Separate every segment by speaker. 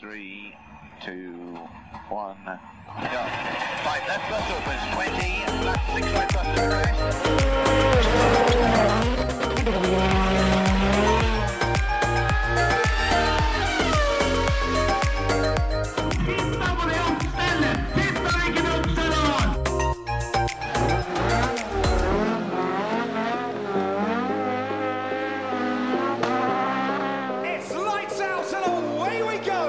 Speaker 1: Three, two, one, go. Five left bus opens, 20, left six right bus to arrest.
Speaker 2: It's lights out and away we go!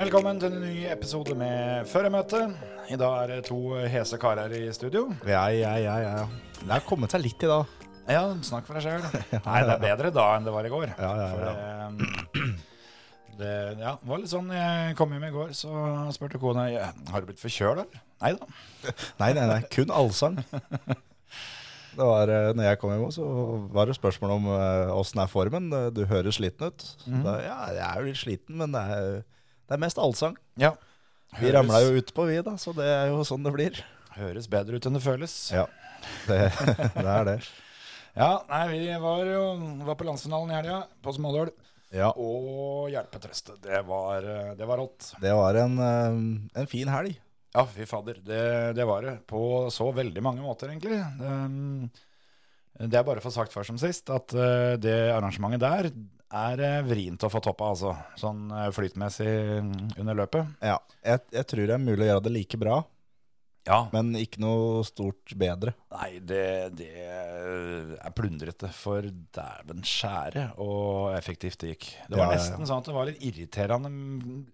Speaker 3: Velkommen til en ny episode med Føremøte. I dag er det to hese karer i studio.
Speaker 4: Ja, ja, ja, ja. Det har kommet seg litt i dag.
Speaker 3: Ja, snakk for deg sjøl. Nei, det er bedre da enn det var i går.
Speaker 4: Ja, ja,
Speaker 3: For, eh, det ja, det var litt sånn Jeg kom hjem i går, så spurte kona «Ja, har du blitt forkjøla. Nei da.
Speaker 4: Nei, nei, nei, kun allsang. Det var, eh, når jeg kom hjem, også, så var det spørsmål om åssen er formen. Eh, Du høres sliten ut.
Speaker 3: Mhm.
Speaker 4: Da, ja, jeg er jo litt sliten, men det er, det er mest allsang.
Speaker 3: Ja.
Speaker 4: Vi ramla jo utpå, vi, da, så det er jo sånn det blir.
Speaker 3: høres bedre ut enn det føles. Ja,
Speaker 4: Ja, det, det er det.
Speaker 3: nei, vi var jo var på landsfinalen i helga, på Smådøl.
Speaker 4: Ja,
Speaker 3: Og hjelpetrøste. Det var, eh, det var rått.
Speaker 4: det var en, eh, en fin helg.
Speaker 3: Ja, fy fader. Det, det var det. På så veldig mange måter, egentlig. Det, det er bare for sagt før som sist at eh, det arrangementet der er eh, vrient å få toppa, altså. Sånn eh, flytmessig mm, under løpet.
Speaker 4: Ja, jeg, jeg tror det er mulig å gjøre det like bra,
Speaker 3: Ja.
Speaker 4: men ikke noe stort bedre.
Speaker 3: Nei, det, det er plundrete for dæven skjære og effektivt det gikk. Det var
Speaker 4: Ja, ja, ja.
Speaker 3: nesten sånn at det var litt irriterende mm,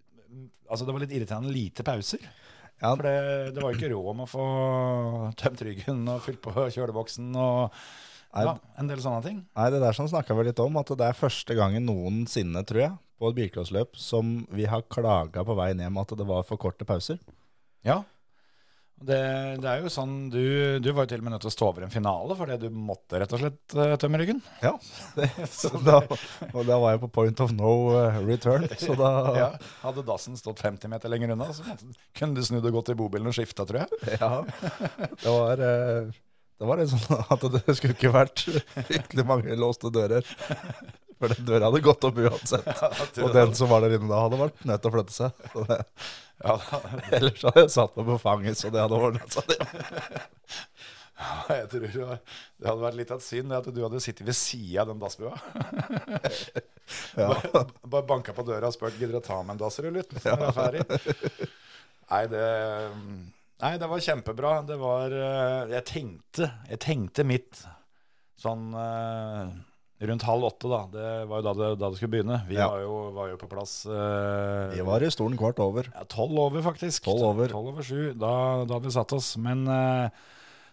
Speaker 3: Altså, det var litt irriterende lite pauser.
Speaker 4: Ja,
Speaker 3: For det, det var jo ikke råd om å få tømt ryggen og fylt på kjøleboksen og ja, en del sånne ting.
Speaker 4: Nei, det der som snakka vi litt om, at det er første gangen noensinne, tror jeg, på et bilcrossløp som vi har klaga på veien hjem at det var for korte pauser.
Speaker 3: Ja. Det, det er jo sånn, du, du var jo til og med nødt til å stå over en finale fordi du måtte rett og slett eh, tømme ryggen.
Speaker 4: Ja. Det, så da, og da var jeg på point of no eh, return, så da
Speaker 3: Ja, hadde dassen stått 50 meter lenger unna, så måtte, kunne du snudd og gått i bobilen og skifta, tror jeg.
Speaker 4: Ja. Det var eh, Det var litt sånn at det skulle ikke vært fryktelig mange låste dører. For den døra hadde gått opp uansett. Og den som var der inne da, hadde vært nødt til å flytte seg. Så det,
Speaker 3: Ja, da,
Speaker 4: ellers hadde jeg satt meg på fanget, så det hadde ordna seg.
Speaker 3: jeg tror det var- det hadde vært litt av et syn det at du hadde sittet ved sida av den dassbua.
Speaker 4: Ja.
Speaker 3: Bare, bare banka på døra og spurt gidder du å ta med en dassrull ut liksom, når du er ferdig. Nei, det mm, Nei, det var kjempebra. Det var eh, Jeg tenkte, jeg tenkte mitt sånn eh, rundt halv åtte, da. Det var jo da det, da det skulle begynne. Vi
Speaker 4: Ja.
Speaker 3: var, jo, var jo på plass eh,
Speaker 4: Vi var i stolen kvart over.
Speaker 3: ja, tolv over, faktisk.
Speaker 4: Tolv over.
Speaker 3: sju. Da, da hadde vi satt oss. Men eh,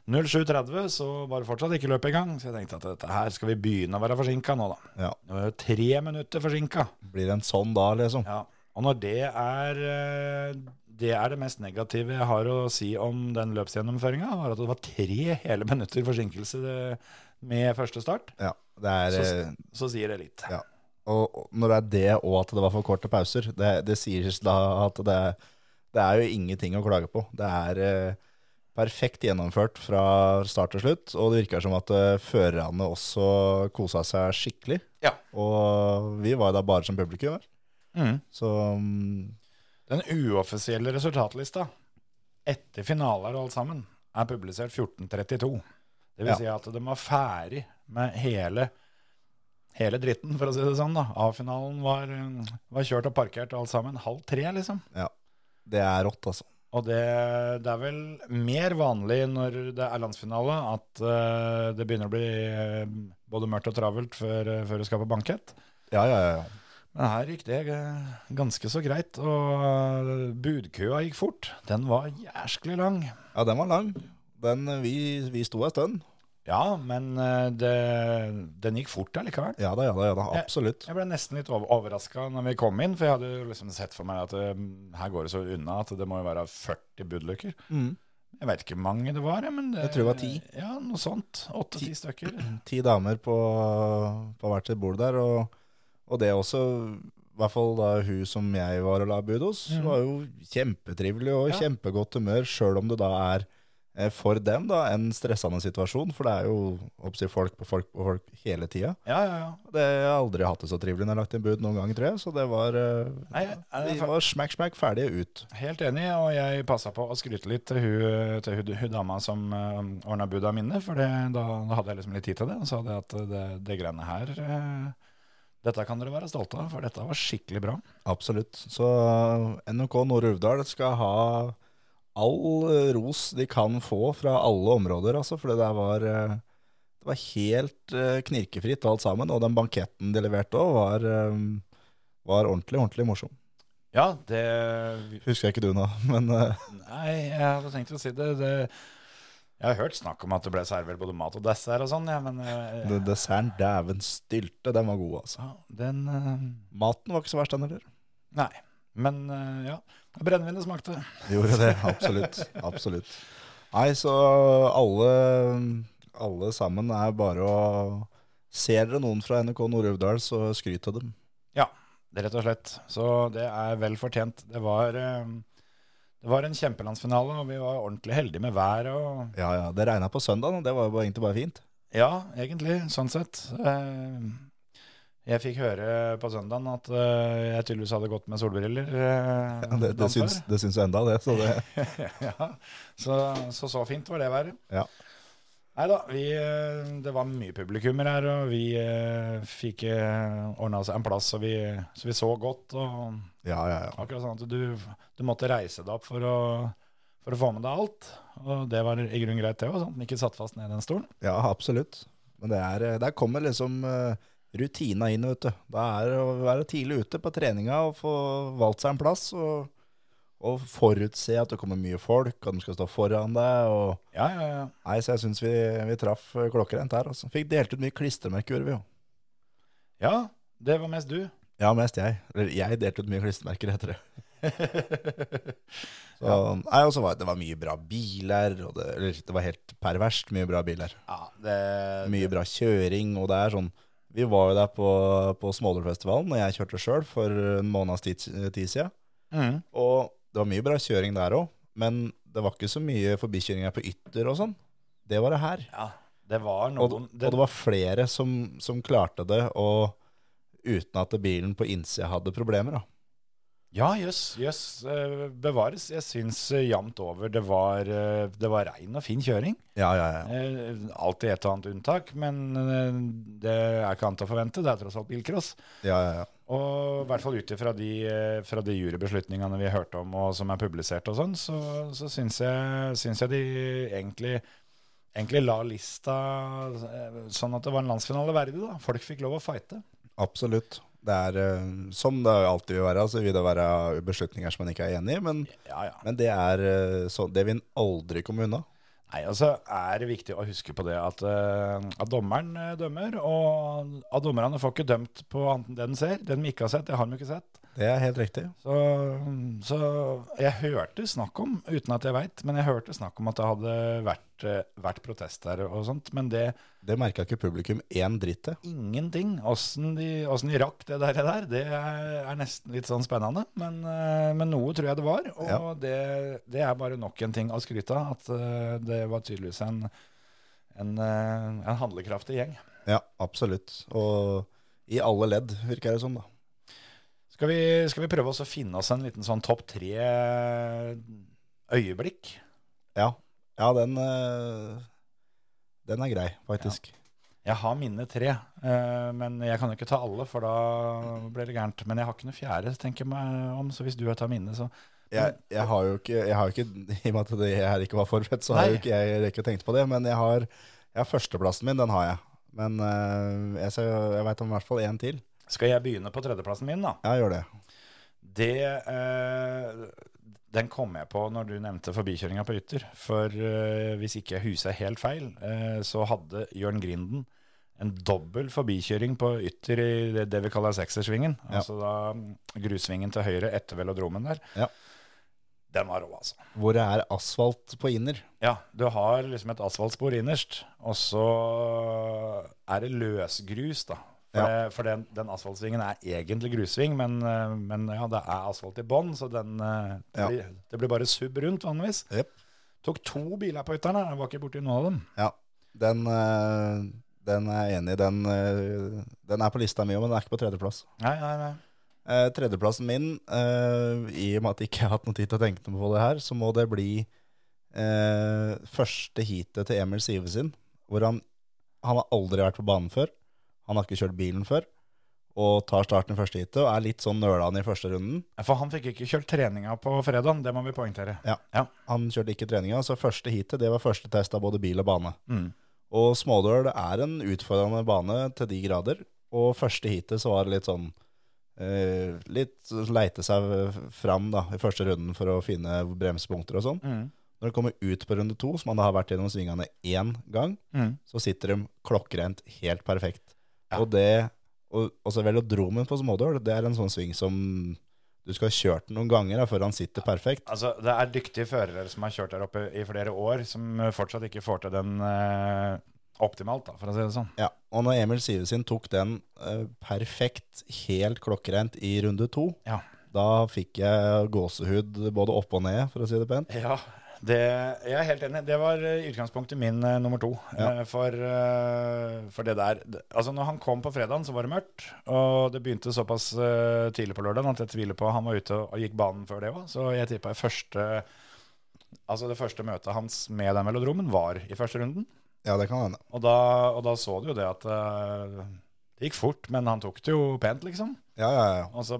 Speaker 3: 07.30 så var det fortsatt ikke løpet i gang. Så jeg tenkte at dette her skal vi begynne å være forsinka nå, da.
Speaker 4: Ja.
Speaker 3: Det var jo tre minutter forsinka.
Speaker 4: Blir en sånn da, liksom.
Speaker 3: Ja. Og når det er eh, det er det mest negative jeg har å si om den løpsgjennomføringa, var at det var tre hele minutter forsinkelse eh, med første start.
Speaker 4: Ja, det er,
Speaker 3: Så,
Speaker 4: eh,
Speaker 3: så sier det litt.
Speaker 4: ja. Og og når det er det, og at det var for korte pauser, det, det sies da at det, det er jo ingenting å klage på. Det er eh, perfekt gjennomført fra start til slutt, og det virker som at eh, førerne også kosa seg skikkelig.
Speaker 3: Ja.
Speaker 4: Og vi var jo da bare som publikum her.
Speaker 3: Mm.
Speaker 4: Så mm,
Speaker 3: Den uoffisielle resultatlista etter finaler og alt sammen er publisert 14.32. Det vil
Speaker 4: Ja.
Speaker 3: si at de var ferdig med hele, hele dritten, for å si det sånn. da. A-finalen var, eh, var kjørt og parkert og alt sammen halv tre, liksom.
Speaker 4: ja, det er rått, altså.
Speaker 3: Og det, det er vel mer vanlig når det er landsfinale at eh, det begynner å bli eh, både mørkt og travelt før, eh, før du skal på bankett.
Speaker 4: Ja, ja, ja. ja.
Speaker 3: Men her gikk det eh, ganske så greit, og eh, budkøa gikk fort. Den var jæsklig lang.
Speaker 4: Ja, den var lang. Den, eh, vi, vi sto en stund.
Speaker 3: Ja, men eh, det, den gikk fort allikevel.
Speaker 4: Ja da, ja da, ja da, absolutt.
Speaker 3: Jeg ble nesten litt overraska når vi kom inn, for jeg hadde jo liksom sett for meg at eh, her går det så unna at det må jo være 40 budlykker.
Speaker 4: Mm.
Speaker 3: Jeg veit ikke hvor mange det var, jeg, men
Speaker 4: Jeg tror det var ti.
Speaker 3: Ja, noe sånt. Åtte-ti stykker.
Speaker 4: ti damer på, på hvert sitt bord der, og, og det også, i hvert fall da hun som jeg var og la bud hos, var jo kjempetrivelig og
Speaker 3: Mm. Ja.
Speaker 4: kjempegodt humør, selv om det da er eh, for dem da, en stressende situasjon, for det er jo oppsi, folk på folk på folk hele tida.
Speaker 3: Ja, ja, ja.
Speaker 4: Det jeg har aldri hatt det så trivelig når jeg har lagt inn bud noen gang, tror jeg. Så det var, eh,
Speaker 3: Nei, jeg- jeg er
Speaker 4: de
Speaker 3: fa-
Speaker 4: var smack, smack ferdige ut.
Speaker 3: Helt enig, og jeg passa på å skryte litt til hun, til hun, hun dama som uh, ordna buda mine, for det, da, da hadde jeg liksom litt tid til det. Og sa det at det, det greiene her eh, Dette kan dere være stolte av, for dette var skikkelig bra.
Speaker 4: Absolutt. Så eh, NRK Nord-Uvdal skal ha all eh, ros de kan få fra alle områder, altså, for det der var, eh, det var helt eh, knirkefritt alt sammen. Og den banketten de leverte òg, var, eh, var ordentlig, ordentlig morsom.
Speaker 3: Ja, det
Speaker 4: Husker jeg ikke du nå, men eh,
Speaker 3: Nei, jeg hadde tenkt å si det. det jeg har hørt snakk om at det ble servert både mat og dessert og sånn, ja, men eh,
Speaker 4: den desserten dæven stylte, den var god, altså.
Speaker 3: ja, den eh,
Speaker 4: Maten var ikke så verst, den heller.
Speaker 3: Nei. Men eh, ja. Brennevinet smakte.
Speaker 4: Gjorde det, absolutt. Absolutt. Nei, så alle, alle sammen er bare å Ser dere noen fra NRK Nord-Uvdal, så skryt av dem.
Speaker 3: Ja, det er rett og slett. Så det er vel fortjent. Det var, eh, det var en kjempelandsfinale, og vi var ordentlig heldige med været. Og
Speaker 4: Ja, ja, Det regna på søndag, og det var jo bare- egentlig bare fint.
Speaker 3: ja, egentlig, sånn sett. Eh, Jeg fikk høre på søndagen at eh, jeg tydeligvis hadde gått med solbriller. eh,
Speaker 4: Ja, det, det,
Speaker 3: dagen
Speaker 4: syns,
Speaker 3: før.
Speaker 4: det syns jo enda, det. Så det
Speaker 3: ja, så, så så fint var det været.
Speaker 4: Ja.
Speaker 3: Nei da, eh, det var mye publikummer her, og vi eh, fikk ordna oss en plass, så vi, så vi så godt. og...
Speaker 4: Ja, ja, ja.
Speaker 3: Akkurat sånn at du, du måtte reise deg opp for å, for å få med deg alt. Og det var i grunnen greit, det òg, sånn at den ikke satt fast ned i den stolen.
Speaker 4: ja absolutt. Men det er, der kommer liksom eh, rutina inn, vet du. Da er det å være tidlig ute på treninga og få valgt seg en plass. Og, og forutse at det kommer mye folk, at de skal stå foran deg. og...
Speaker 3: Ja, ja, ja.
Speaker 4: Nei, så jeg syns vi, vi traff eh, klokkerent her. Altså. Fikk delt ut mye klistremerker, gjorde vi jo.
Speaker 3: ja, det var mest du.
Speaker 4: Ja, mest jeg. Eller jeg delte ut mye klistremerker, heter det. Så, nei, og så var det var mye bra biler, og det, eller, det var helt perverst mye bra biler.
Speaker 3: Ja, det,
Speaker 4: Mye bra kjøring, og det er sånn Vi var jo der på, på Smålerfestivalen, og jeg kjørte sjøl for en måneds tid, tid siden.
Speaker 3: mm.
Speaker 4: Og det var mye bra kjøring der òg, men det var ikke så mye forbikjøringer på ytter og sånn. Det var det her.
Speaker 3: ja, det var
Speaker 4: Og,
Speaker 3: noen
Speaker 4: og det var flere som, som klarte det, og uten at bilen på innsida hadde problemer. Da.
Speaker 3: Ja, jøss. Jøss. eh, Bevares. Jeg syns eh, jevnt over det var, eh, det var rein og fin kjøring.
Speaker 4: Ja, ja, ja.
Speaker 3: Eh, Alltid et og annet unntak, men eh, det er ikke annet å forvente. Det er tross alt bilcross.
Speaker 4: ja, ja, ja.
Speaker 3: Og i hvert fall ut ifra de, fra de jurybeslutningene vi hørte om, og som er publisert og sånn, så, så syns jeg, syns jeg de egentlig, egentlig la lista eh, sånn at det var en landsfinale verdig, da. Folk fikk lov å fighte.
Speaker 4: Absolutt. Det er eh, som det alltid vil være, så vil det være beslutninger som man ikke er enig i, men,
Speaker 3: Ja, ja.
Speaker 4: men det er eh, så, det vil en aldri komme unna.
Speaker 3: Nei, altså er det viktig å huske på det at, eh, at dommeren eh, dømmer, og at dommerne får ikke dømt på annet enn det den ser. Det de ikke har sett, det har de ikke sett.
Speaker 4: Det er helt riktig.
Speaker 3: Så, så jeg hørte snakk om, uten at jeg veit, men jeg hørte snakk om at det hadde vært, eh, vært protest der og sånt. Men det
Speaker 4: Det merka ikke publikum én dritt til.
Speaker 3: ingenting. Åssen de, åssen de rakk det der, der, det er er nesten litt sånn spennende. Men, eh, men noe tror jeg det var. Og
Speaker 4: Ja.
Speaker 3: det, det er bare nok en ting å skryte av. At eh, det var tydeligvis en, en, eh, en handlekraftig gjeng.
Speaker 4: Ja, absolutt. Og i alle ledd, virker det som, da.
Speaker 3: Skal vi, skal vi prøve oss å finne oss en liten sånn topp tre øyeblikk?
Speaker 4: Ja, ja den, eh, den er grei, faktisk.
Speaker 3: Jeg har mine tre, eh, men jeg kan jo ikke ta alle, for da blir det gærent. Men jeg har ikke noe fjerde, tenker jeg meg om, så hvis du tar mine, så
Speaker 4: Jeg, jeg har jo ikke, jeg har jo ikke I og med at det her ikke var forberedt, så har
Speaker 3: Nei.
Speaker 4: jo ikke jeg ikke tenkt på det. Men jeg har, jeg har førsteplassen min, den har jeg. Men eh, jeg, ser- jeg veit om i hvert fall én til.
Speaker 3: skal jeg begynne på tredjeplassen min, da.
Speaker 4: Ja, gjør det.
Speaker 3: Det eh, Den kom jeg på når du nevnte forbikjøringa på Ytter. For eh, hvis ikke jeg huser helt feil, eh, så hadde Jørn Grinden en dobbel forbikjøring på Ytter i det, det vi kaller seksersvingen.
Speaker 4: Ja.
Speaker 3: Altså da mm, grusvingen til høyre etter velodromen der.
Speaker 4: Ja.
Speaker 3: Den var rå, altså.
Speaker 4: Hvor det er asfalt på inner.
Speaker 3: Ja, du har liksom et asfaltspor innerst, og så er det løsgrus, da. For,
Speaker 4: Ja.
Speaker 3: det, for den, den asfaltsvingen er egentlig grusving, men, eh, men ja, det er asfalt i bånn, så den, eh, det,
Speaker 4: Ja.
Speaker 3: blir, det blir bare sub rundt vanligvis.
Speaker 4: Jep.
Speaker 3: Tok to biler på ytteren, jeg var ikke borti noen av dem.
Speaker 4: Ja, den, eh, den er jeg enig i. Den, eh, den er på lista mi òg, men den er ikke på tredjeplass.
Speaker 3: Nei, nei, nei.
Speaker 4: Eh, tredjeplassen min, eh, i og med at jeg ikke har hatt noe tid til å tenke på det her, så må det bli eh, første heatet til Emil Sivertsen. Hvor han, han har aldri vært på banen før. Han har ikke kjørt bilen før. Og tar starten i første heatet og er litt sånn nølende i første runden.
Speaker 3: For han fikk ikke kjørt treninga på fredagen, det må vi poengtere.
Speaker 4: Ja.
Speaker 3: Ja.
Speaker 4: Han kjørte ikke treninga, så første heatet det var første test av både bil og bane.
Speaker 3: Mm.
Speaker 4: Og Smådøl er en utfordrende bane til de grader. Og første heatet så var det litt sånn eh, Litt leite seg fram da, i første runden for å finne bremsepunkter og sånn.
Speaker 3: Mm.
Speaker 4: Når det kommer ut på runde to, som han da har vært gjennom svingene én gang,
Speaker 3: Mm.
Speaker 4: så sitter de klokkrent helt perfekt. Og det og, og så velodromen på Smådøl, det er en sånn sving som du skal ha kjørt den noen ganger da, før han sitter perfekt.
Speaker 3: Altså, det er dyktige førere som har kjørt der oppe i flere år, som fortsatt ikke får til den eh, optimalt, da, for å si det sånn.
Speaker 4: Ja, og når Emil Sivertsen tok den eh, perfekt, helt klokkrent i runde to,
Speaker 3: Ja.
Speaker 4: da fikk jeg gåsehud både opp og ned, for å si det pent.
Speaker 3: Ja, det, jeg er helt enig. Det var eh, i utgangspunktet min eh, nummer to.
Speaker 4: Ja.
Speaker 3: Eh, for, eh, for det der det- Altså, når han kom på fredagen, så var det mørkt. Og det begynte såpass eh, tidlig på lørdagen at jeg tviler på Han var ute og, og gikk banen før det òg, så jeg tippa første Altså, det første møtet hans med den velodromen var i første runden.
Speaker 4: Ja, det kan hende.
Speaker 3: Og da, og da så du jo det at eh, det gikk fort, men han tok det jo pent, liksom.
Speaker 4: Ja, ja, ja.
Speaker 3: Og så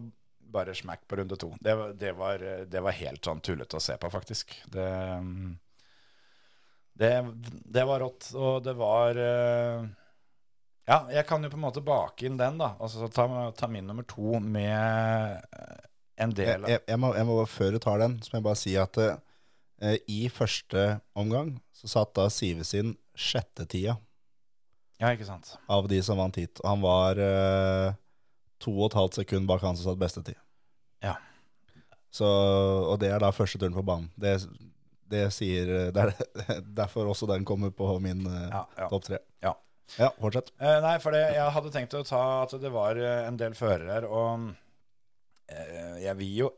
Speaker 3: bare smack på runde to. Det, var- det, var, det var helt sånn tullete å se på, faktisk. Det, det, det var rått, og det var eh, Ja, jeg kan jo på en måte bake inn den, da. Og så ta, ta min nummer to med en
Speaker 4: Jeg,
Speaker 3: del av
Speaker 4: jeg, jeg, må, jeg må bare, før du tar den, så må jeg bare si at eh, i første omgang så satt da Sivertsen sjette tida
Speaker 3: Ja, ikke sant.
Speaker 4: av de som vant hit. Og han var eh, to og et halvt sekund bak han som satt beste tid.
Speaker 3: Ja.
Speaker 4: Så, og det er da første turen på banen. Det, det sier eh, det er derfor også den kommer på min eh,
Speaker 3: Ja, ja.
Speaker 4: topp tre.
Speaker 3: Ja.
Speaker 4: Ja, fortsett.
Speaker 3: Eh, nei, for det, jeg hadde tenkt å ta at det var eh, en del førere her, og eh, jeg vil jo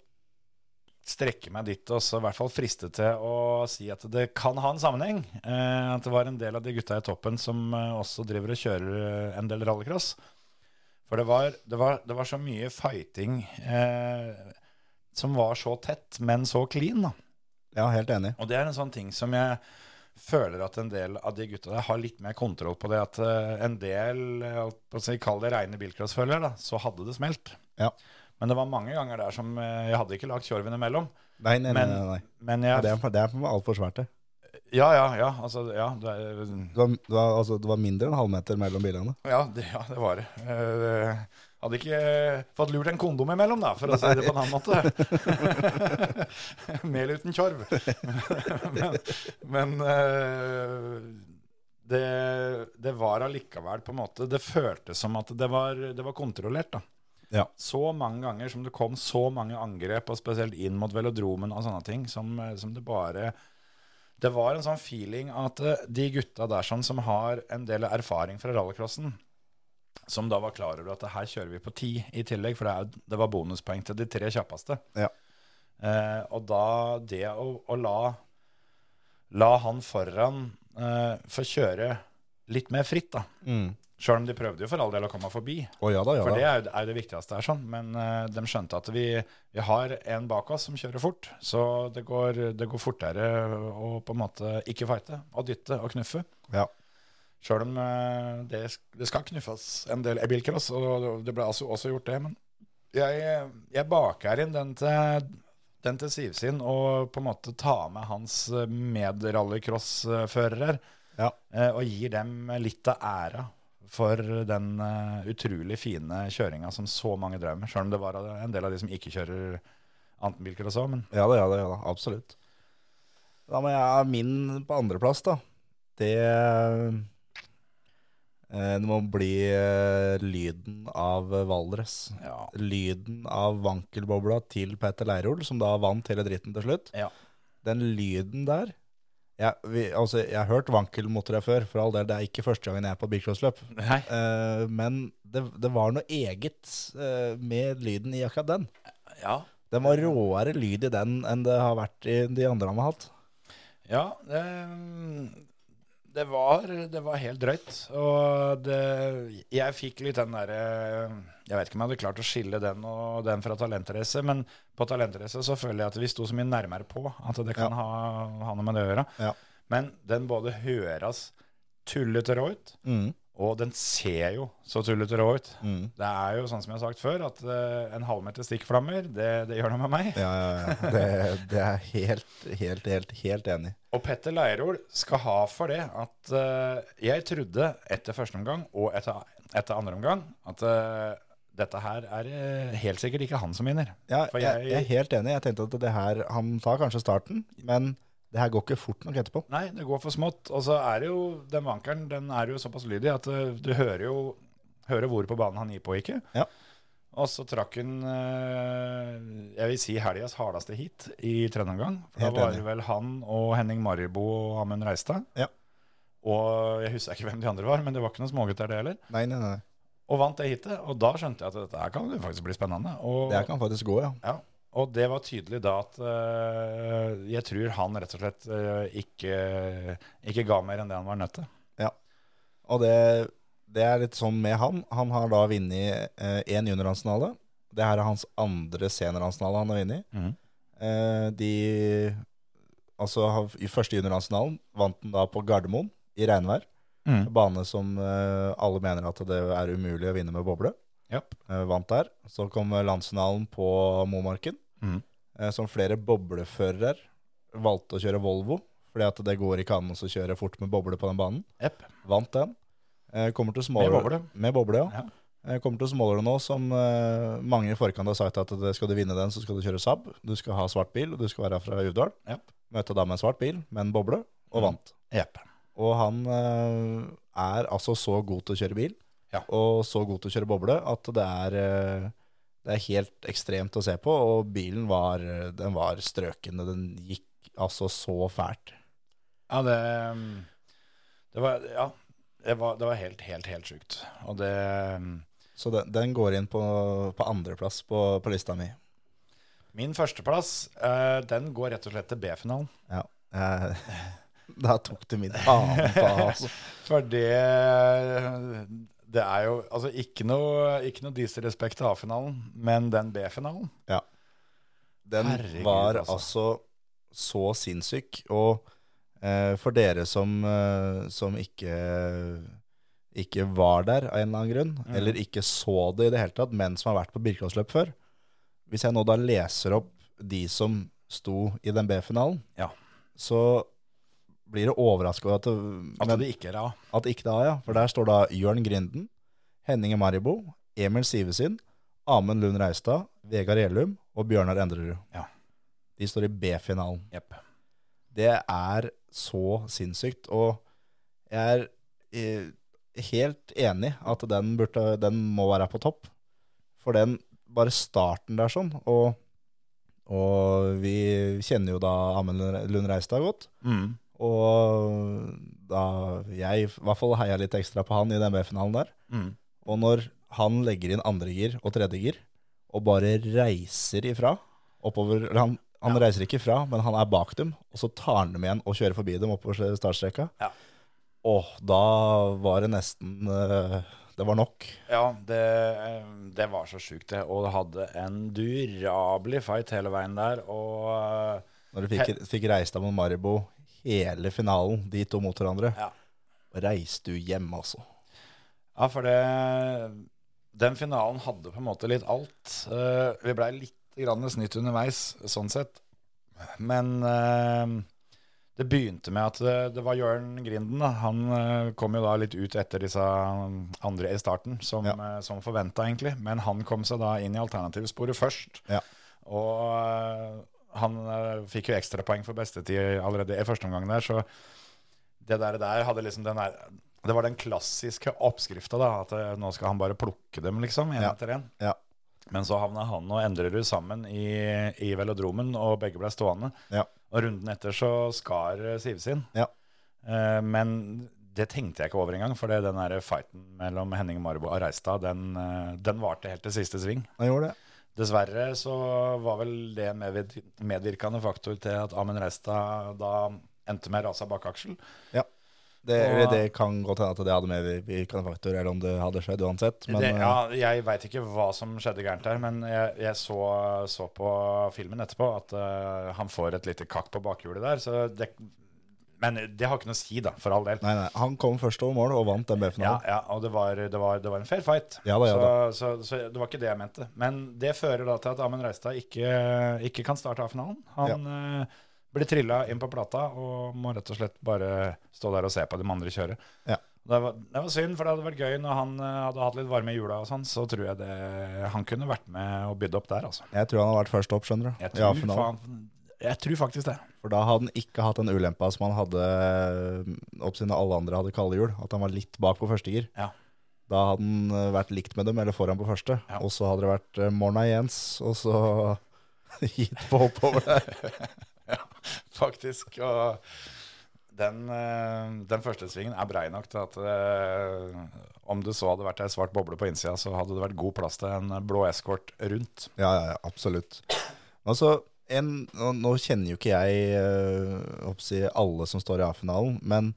Speaker 3: strekke meg dit og så i hvert fall friste til å si at det kan ha en sammenheng. Eh, at det var en del av de gutta i toppen som eh, også driver og kjører eh, en del rallycross. For det var, det var, det var så mye fighting eh, som var så tett, men så clean, da.
Speaker 4: Ja, helt enig.
Speaker 3: Og det er en sånn ting som jeg føler at en del av de gutta der har litt mer kontroll på det. At eh, en del, eh, holdt på å si, kall det reine bilcrossfølgere, da, så hadde det smelt.
Speaker 4: Ja.
Speaker 3: Men det var mange ganger der som eh, jeg hadde ikke lagt kjorven imellom.
Speaker 4: Nei, nei, nei.
Speaker 3: Men-
Speaker 4: nei, nei.
Speaker 3: Men
Speaker 4: Ja,
Speaker 3: jeg
Speaker 4: Det, er, det er altfor svært, det.
Speaker 3: Ja, ja, ja. Altså, ja, det, er-
Speaker 4: Det var, det, var, altså, det var mindre enn en halvmeter mellom bilene.
Speaker 3: ja, det, ja, det var det. Eh, hadde ikke eh, fått lurt en kondom imellom, da, for å si det på en annen måte. Mel uten kjorv. men men eh, det, det var allikevel på en måte Det føltes som at det var, det var kontrollert. da.
Speaker 4: Ja.
Speaker 3: Så mange ganger som det kom så mange angrep, og spesielt inn mot velodromen og sånne ting, som, eh, som det bare Det var en sånn feeling at eh, de gutta der sånn, som har en del erfaring fra rallycrossen, som da var klar over at her kjører vi på ti i tillegg, for det, er, det var bonuspoeng til de tre kjappeste.
Speaker 4: Ja.
Speaker 3: Eh, og da det å, å la, la han foran eh, få kjøre litt mer fritt, da.
Speaker 4: Mm.
Speaker 3: Sjøl om de prøvde jo for all del å komme forbi,
Speaker 4: Å ja da, ja
Speaker 3: for det
Speaker 4: da.
Speaker 3: er jo, er jo det viktigste her, sånn. Men eh, de skjønte at vi, vi har en bak oss som kjører fort, så det går, det går fortere å på en måte ikke fighte, og dytte og knuffe.
Speaker 4: Ja.
Speaker 3: Sjøl om eh, det, sk- det skal knuffes en del i bilcross, og det ble altså også gjort det. Men jeg, jeg baker inn den til, den til Sivsin og på en måte tar med hans eh, medrallycrossførere
Speaker 4: Ja.
Speaker 3: eh, og gir dem litt av æra for den eh, utrolig fine kjøringa som så mange drev med. Sjøl om det var en del av de som ikke kjører annet enn bilcross òg, men
Speaker 4: Ja da, ja da, ja da, absolutt. Da må jeg ha min på andreplass, da. Det eh, Det må bli eh, lyden av Valdres.
Speaker 3: ja.
Speaker 4: Lyden av vankelbobla til Petter Leirol, som da vant hele dritten til slutt.
Speaker 3: Ja.
Speaker 4: Den lyden der jeg, vi, altså, jeg har hørt vankelmotorer før, for all del. Det er ikke første gangen jeg er på bilcrossløp.
Speaker 3: Nei.
Speaker 4: Eh, men det, det var noe eget eh, med lyden i akkurat den.
Speaker 3: Ja.
Speaker 4: Den var råere lyd i den enn det har vært i de andre han har hatt.
Speaker 3: Ja, det, det, var, det var helt drøyt. Og det, jeg fikk litt den derre Jeg vet ikke om jeg hadde klart å skille den og den fra talentrace, men på talentrace så føler jeg at vi sto så mye nærmere på at det kan ha, ha noe med det å gjøre.
Speaker 4: Ja.
Speaker 3: Men den både høres tullete rå ut,
Speaker 4: Mm.
Speaker 3: og den ser jo så tullete rå ut.
Speaker 4: Mm.
Speaker 3: Det er jo sånn som jeg har sagt før, at eh, en halvmeter stikkflammer, det, det gjør noe med meg.
Speaker 4: Ja, ja, ja. Det, det er jeg helt, helt, helt, helt enig. i.
Speaker 3: Og Petter Leirol skal ha for det at eh, jeg trodde etter første omgang og etter, etter andre omgang at eh, dette her er eh, helt sikkert ikke han som vinner.
Speaker 4: Ja,
Speaker 3: For
Speaker 4: jeg,
Speaker 3: jeg-
Speaker 4: jeg er helt enig. Jeg tenkte at det her, han tar kanskje starten, men det her går ikke fort nok etterpå.
Speaker 3: Nei, det går for smått. Og så er det jo den vankeren den er jo såpass lydig at eh, du hører jo hører hvor på banen han gir på, ikke?
Speaker 4: Ja.
Speaker 3: Og så trakk hun eh, jeg vil si helgas hardeste hit i tredje omgang. For
Speaker 4: Helt
Speaker 3: da var
Speaker 4: enig.
Speaker 3: det vel han og Henning Maribo og Amund Reistad.
Speaker 4: Ja.
Speaker 3: Og jeg husker ikke hvem de andre var, men det var ikke noen smågutter det heller.
Speaker 4: Nei, nei, nei.
Speaker 3: Og vant det hitet. Og da skjønte jeg at dette her kan jo faktisk bli spennende. Og
Speaker 4: Det her kan faktisk gå, ja.
Speaker 3: ja, og det var tydelig da at eh, jeg tror han rett og slett eh, ikke, ikke ga mer enn det han var nødt til.
Speaker 4: Og det, det er litt sånn med han. Han har da vunnet én eh, juniorlandsfinale. Det her er hans andre seniorlandsfinale han har vunnet.
Speaker 3: Mhm.
Speaker 4: Eh, de Altså, han- i første juniorlandsfinalen vant han da på Gardermoen i regnvær.
Speaker 3: Mm.
Speaker 4: Bane som eh, alle mener at det er umulig å vinne med boble.
Speaker 3: Japp.
Speaker 4: Eh, vant der. Så kom landsfinalen på Momarken,
Speaker 3: Mhm.
Speaker 4: eh, som flere bobleførere valgte å kjøre Volvo, fordi at det går ikke an å kjøre fort med boble på den banen.
Speaker 3: Jepp.
Speaker 4: Vant den. Eh, Kommer til
Speaker 3: Med
Speaker 4: Smålå
Speaker 3: boble.
Speaker 4: Med boble, ja.
Speaker 3: Ja.
Speaker 4: Eh, Kommer til Smålåret nå som eh, mange i forkant har sagt at det, skal du vinne den, så skal du kjøre Saab. Du skal ha svart bil, og du skal være fra Uvdal.
Speaker 3: Ja.
Speaker 4: Møtte da med en svart bil, med en boble, og
Speaker 3: Mhm.
Speaker 4: vant.
Speaker 3: Jepp.
Speaker 4: Og han eh, er altså så god til å kjøre bil,
Speaker 3: Ja.
Speaker 4: og så god til å kjøre boble, at det er, eh, det er helt ekstremt å se på. Og bilen var, den var strøkende, den gikk altså så fælt.
Speaker 3: Ja, det, mm, det var Ja. Det var, det var helt, helt, helt sjukt. Og det mm,
Speaker 4: Så den, den går inn på, på andreplass på, på lista mi.
Speaker 3: Min førsteplass, eh, den går rett og slett til B-finalen.
Speaker 4: Ja. Eh, Da tok du min faen på, altså.
Speaker 3: For det Det er jo altså ikke noe, ikke noe disrespekt til A-finalen, men den B-finalen
Speaker 4: Den
Speaker 3: Herregud,
Speaker 4: var
Speaker 3: altså.
Speaker 4: altså. så sinnssyk. Og eh, for dere som, eh, som ikke, ikke var der av en eller annen grunn, eller ikke så det i det hele tatt, men som har vært på Birkelåsløp før Hvis jeg nå da leser opp de som sto i den B-finalen,
Speaker 3: Ja.
Speaker 4: så blir det overraska over at, det-
Speaker 3: At
Speaker 4: men-
Speaker 3: det ikke er A.
Speaker 4: at ikke det er, ja. For der står da Jørn Grinden, Henning Maribo, Emil Sivesin, Amund Lund Reistad, Vegard Gjellum og Bjørnar Endrerud.
Speaker 3: Ja.
Speaker 4: De står i B-finalen.
Speaker 3: Jepp.
Speaker 4: Det er så sinnssykt, og jeg er eh, helt enig at den, burde, den må være på topp. For den, bare starten der sånn, og, og vi kjenner jo da Amund Lund Reistad godt,
Speaker 3: Mm.
Speaker 4: og da jeg i hvert fall heia litt ekstra på han i den B-finalen der.
Speaker 3: Mm.
Speaker 4: Og når han legger inn andregir og tredjegir, og bare reiser ifra oppover eller Han, han reiser ikke ifra, men han er bak dem, og så tar han dem igjen og kjører forbi dem oppover startstreka.
Speaker 3: Ja.
Speaker 4: Åh, da var det nesten eh, Det var nok.
Speaker 3: Ja, det, eh, det var så sjukt, det. Og det hadde en durabelig fight hele veien der. Og eh,
Speaker 4: Når du fikk, fikk reist deg mot Maribo hele finalen, de to mot hverandre.
Speaker 3: Ja.
Speaker 4: Reiste du hjem, altså.
Speaker 3: ja, for det Den finalen hadde på en måte litt alt. Eh, Vi blei litt grann snytt underveis, sånn sett. Men eh, det begynte med at det, det var Jørn Grinden. Da. Han eh, kom jo da litt ut etter disse um, andre i starten, som,
Speaker 4: Ja.
Speaker 3: ja. som forventa, egentlig. Men han kom seg da inn i alternativsporet først.
Speaker 4: Ja.
Speaker 3: Og eh, han eh, fikk jo ekstrapoeng for bestetid allerede i første omgang der, så det der, der hadde liksom den der Det var den klassiske oppskrifta, da. At eh, nå skal han bare plukke dem, liksom, én
Speaker 4: Ja.
Speaker 3: etter én.
Speaker 4: Ja.
Speaker 3: Men så havna han og Endrerud sammen i, i velodromen, og begge ble stående.
Speaker 4: Ja.
Speaker 3: Og runden etter så skar eh, Sivsin.
Speaker 4: Ja.
Speaker 3: Eh, men det tenkte jeg ikke over engang, for det- den der fighten mellom Henning Marbo og Reistad, den, eh, den varte helt til siste sving.
Speaker 4: Han gjorde det.
Speaker 3: Dessverre så var vel det en medvirk- medvirkende faktor til at Amund Reistad da endte med rasa bakaksel.
Speaker 4: Det,
Speaker 3: Og-
Speaker 4: det kan godt hende at det hadde medvirkende faktor, eller om det hadde skjedd uansett. Men eh,
Speaker 3: det, ja, jeg veit ikke hva som skjedde gærent der, men jeg, jeg så, så på filmen etterpå at eh, han får et lite kakk på bakhjulet der. Så det, men det har ikke noe å si, da, for all del.
Speaker 4: Nei, nei, han kom først over mål og vant den
Speaker 3: Ja,
Speaker 4: B-finalen.
Speaker 3: ja, og det var, det, var, det var en fair fight.
Speaker 4: Ja da, ja
Speaker 3: så, så, så det var ikke det jeg mente. Men det fører da til at Amund Reistad ikke, ikke kan starte A-finalen. Han eh, blir trilla inn på plata og må rett og slett bare stå der og se på de andre kjøre.
Speaker 4: Ja.
Speaker 3: Det, var, det var synd, for det hadde vært gøy når han eh, hadde hatt litt varme i jula og sånn. Så tror jeg det, han kunne vært med og bydd opp der, altså.
Speaker 4: Jeg tror han har vært først opp, skjønner du.
Speaker 3: Jeg
Speaker 4: i
Speaker 3: tror,
Speaker 4: A-finalen.
Speaker 3: faen, jeg tror faktisk det.
Speaker 4: For da hadde han ikke hatt den ulempa som han hadde eh, opp siden alle andre hadde kalde hjul, at han var litt bak på første gir.
Speaker 3: Ja.
Speaker 4: Da hadde han eh, vært likt med dem, eller foran på første.
Speaker 3: Ja.
Speaker 4: Og så hadde det vært eh, Morna Jens, og så hit på oppover der.
Speaker 3: faktisk. Og den, eh, den første svingen er brei nok til at eh, om du så hadde vært ei svart boble på innsida, så hadde det vært god plass til en blå eskort rundt.
Speaker 4: Ja, ja, ja, absolutt. Altså, en, nå, nå kjenner jo ikke jeg eh, håper å si, alle som står i A-finalen, men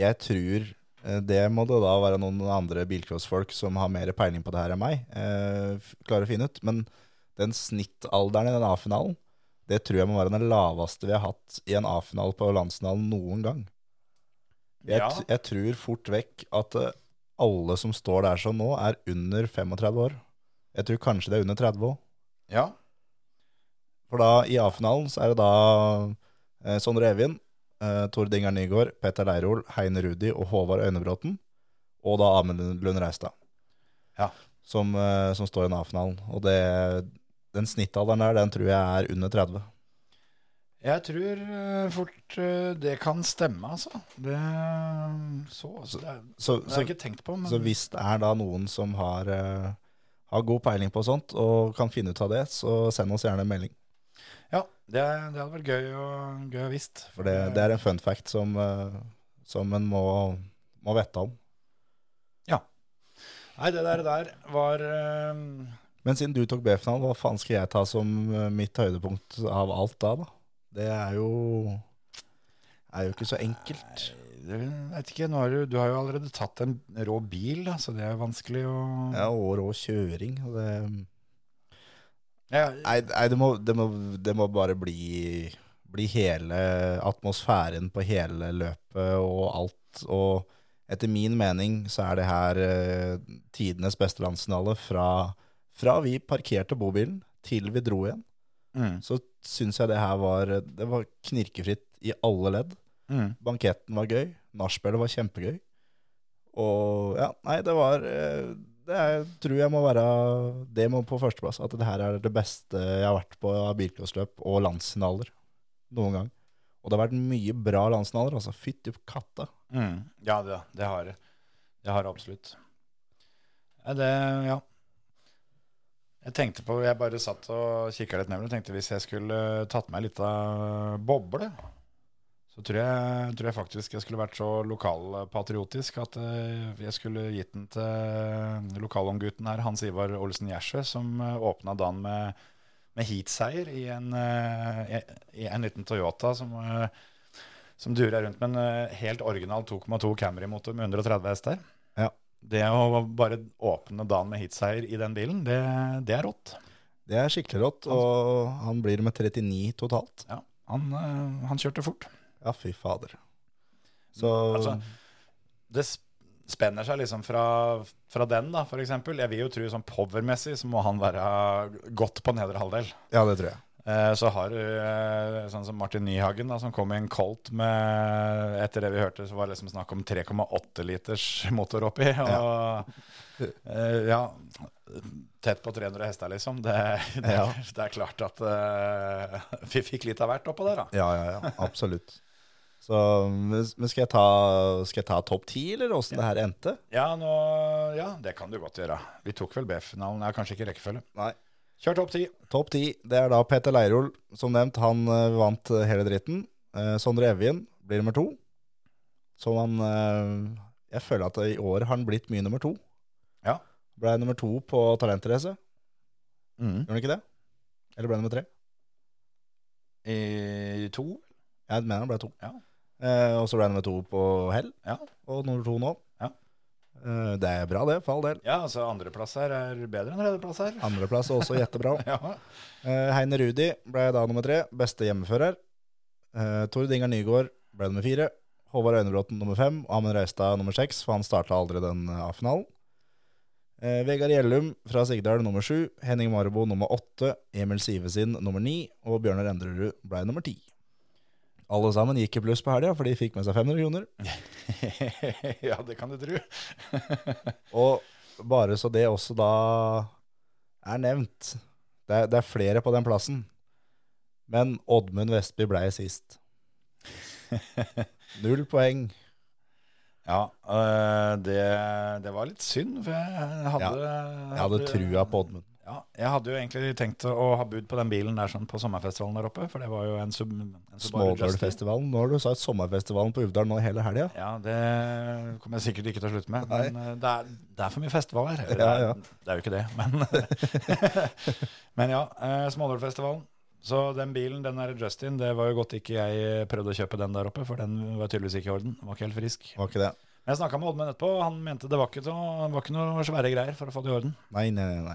Speaker 4: jeg tror eh, det må det da være noen andre bilcrossfolk som har mer peiling på det her enn meg, eh, f- klarer å finne ut. Men den snittalderen i den A-finalen, det tror jeg må være den laveste vi har hatt i en A-finale på landsfinalen noen gang. Jeg,
Speaker 3: Ja.
Speaker 4: t- jeg tror fort vekk at eh, alle som står der som nå, er under 35 år. Jeg tror kanskje det er under 30 òg.
Speaker 3: Ja.
Speaker 4: For da, i A-finalen så er det da eh, Sondre Evin, eh, Tor Dingar Nygaard, Peter Leirol, Heine Rudi og Håvard Øynebråten. Og da Amund Lund Reistad.
Speaker 3: Ja.
Speaker 4: Som, eh, som står i den A-finalen. Og det, den snittalderen der, den tror jeg er under 30.
Speaker 3: Jeg tror eh, fort eh, det kan stemme, altså. Det så altså. Det, er-
Speaker 4: Så,
Speaker 3: det
Speaker 4: så,
Speaker 3: har jeg ikke tenkt på, men
Speaker 4: så hvis det er da noen som har, eh, har god peiling på sånt, og kan finne ut av det, så send oss gjerne en melding.
Speaker 3: ja, det, det hadde vært gøy å, gøy å visst. Eh,
Speaker 4: For det, det er en fun fact som, eh, som en må, må vette om.
Speaker 3: Nei, det der, der var eh,
Speaker 4: Men siden du tok B-finalen, hva faen skal jeg ta som eh, mitt høydepunkt av alt da? da? Det er jo, er jo ikke så enkelt.
Speaker 3: jeg vet ikke, nå har du, du har jo allerede tatt en rå bil, da, så det er vanskelig å
Speaker 4: Det er år og kjøring. og Det,
Speaker 3: Ja,
Speaker 4: nei, nei det, må, det, må, det må bare bli, bli hele atmosfæren på hele løpet og alt. Og etter min mening så er det her eh, tidenes beste landsfinale fra, fra vi parkerte bobilen til vi dro igjen.
Speaker 3: Mm.
Speaker 4: Så syns jeg det her var, det var knirkefritt i alle ledd.
Speaker 3: Mm.
Speaker 4: Banketten var gøy. Nachspielet var kjempegøy. Og ja, nei, det var eh, Det er, tror jeg må være det må på førsteplass. At det her er det beste jeg har vært på av bilcrossløp og landsfinaler noen gang. Og det har vært mye bra landsfinaler. Altså, fytti katta.
Speaker 3: Mm. Ja, det, det har det. Det har det absolutt. Ja, det, ja. Jeg tenkte på, jeg bare satt og kikket litt nedover og tenkte hvis jeg skulle eh, tatt meg litt av boble, så tror jeg, tror jeg faktisk jeg skulle vært så lokalpatriotisk at eh, jeg skulle gitt den til lokalomgutten her, Hans Ivar Olsen Gjersø, som eh, åpnet dagen med, med heatseier i en, eh, i- i en liten Toyota som... eh, som durer rundt med en eh, helt original 2,2 Camry-motor med 130 hester.
Speaker 4: Ja.
Speaker 3: Det å bare åpne dagen med hitseier i den bilen, det, det er rått.
Speaker 4: Det er skikkelig rått, og han blir med 39 totalt.
Speaker 3: Ja. Han, eh, han kjørte fort.
Speaker 4: Ja, fy fader. Så
Speaker 3: Altså, det sp- spenner seg liksom fra, fra den, da, for eksempel. Jeg vil jo tro sånn powermessig så må han være godt på nedre halvdel.
Speaker 4: Ja, det tror jeg.
Speaker 3: Eh, Så har du eh, sånn som Martin Nyhagen, da, som kom i en Colt med Etter det vi hørte, så var det liksom snakk om 3,8 liters motor oppi. Og eh, ja Tett på 300 hester, liksom. Det, det,
Speaker 4: Ja.
Speaker 3: det er klart at eh, vi fikk litt av hvert oppå der, da.
Speaker 4: Ja, ja, ja, absolutt. Så, men men skal jeg ta, skal jeg ta topp ti, eller åssen det her endte?
Speaker 3: Ja, nå, ja, det kan du godt gjøre. Vi tok vel B-finalen. Ja, kanskje ikke rekkefølge.
Speaker 4: Nei.
Speaker 3: Kjør topp ti.
Speaker 4: Topp ti, det er da Peter Leirol, som nevnt. Han eh, vant eh, hele dritten. Eh, Sondre Evjen blir nummer to. Som han eh, Jeg føler at i år har han blitt mye nummer to.
Speaker 3: Ja.
Speaker 4: Ble nummer to på talentrace, gjorde han ikke det? Eller ble han nummer tre?
Speaker 3: I to.
Speaker 4: Jeg mener han ble to.
Speaker 3: Ja.
Speaker 4: Eh, og så ble det nummer to på hell,
Speaker 3: Ja.
Speaker 4: og nummer to nå.
Speaker 3: Ja.
Speaker 4: Eh, det er bra, det, for all del.
Speaker 3: ja, altså andreplass her er bedre enn tredjeplass her.
Speaker 4: Andreplass er også jettebra.
Speaker 3: Ja.
Speaker 4: Eh, Heine Rudi ble da nummer tre, beste hjemmefører. Eh, Tord Ingar Nygaard ble nummer fire. Håvard Øynebråten nummer fem. Og Amund Reistad nummer seks, for han starta aldri den eh, A-finalen. Eh, Vegard Gjellum fra Sigdal nummer sju. Henning Marbo nummer åtte. Emil Sivesin nummer ni. Og Bjørnar Endrerud ble nummer ti. Alle sammen gikk i pluss på helga, for de fikk med seg 500 kroner.
Speaker 3: ja, det kan du tro.
Speaker 4: Og bare så det også da er nevnt. Det er, det er flere på den plassen. Men Oddmund Vestby blei sist. Null poeng.
Speaker 3: Ja, øh, det, det var litt synd, for jeg hadde
Speaker 4: Jeg hadde trua på Oddmund.
Speaker 3: Ja, jeg hadde jo egentlig tenkt å ha bud på den bilen der sånn på sommerfestivalen der oppe, for det var jo en, sub, en Subaru Juster.
Speaker 4: Smådølfestivalen. Nå har du sagt sommerfestivalen på Uvdal nå hele helga.
Speaker 3: Ja, det kommer jeg sikkert ikke til å slutte med. Men eh, det er, det er for mye festivaler. Eller,
Speaker 4: Ja, ja.
Speaker 3: Det er jo ikke det, men Men ja, eh, Smådølfestivalen. Så den bilen, den der Justin, det var jo godt ikke jeg prøvde å kjøpe den der oppe, for den var tydeligvis ikke i orden. Den var ikke helt frisk.
Speaker 4: Var ikke det?
Speaker 3: Men jeg snakka med Oddmund etterpå, og han mente det var ikke, så, det var ikke noe svære greier for å få det i orden.
Speaker 4: Nei, nei, nei. nei.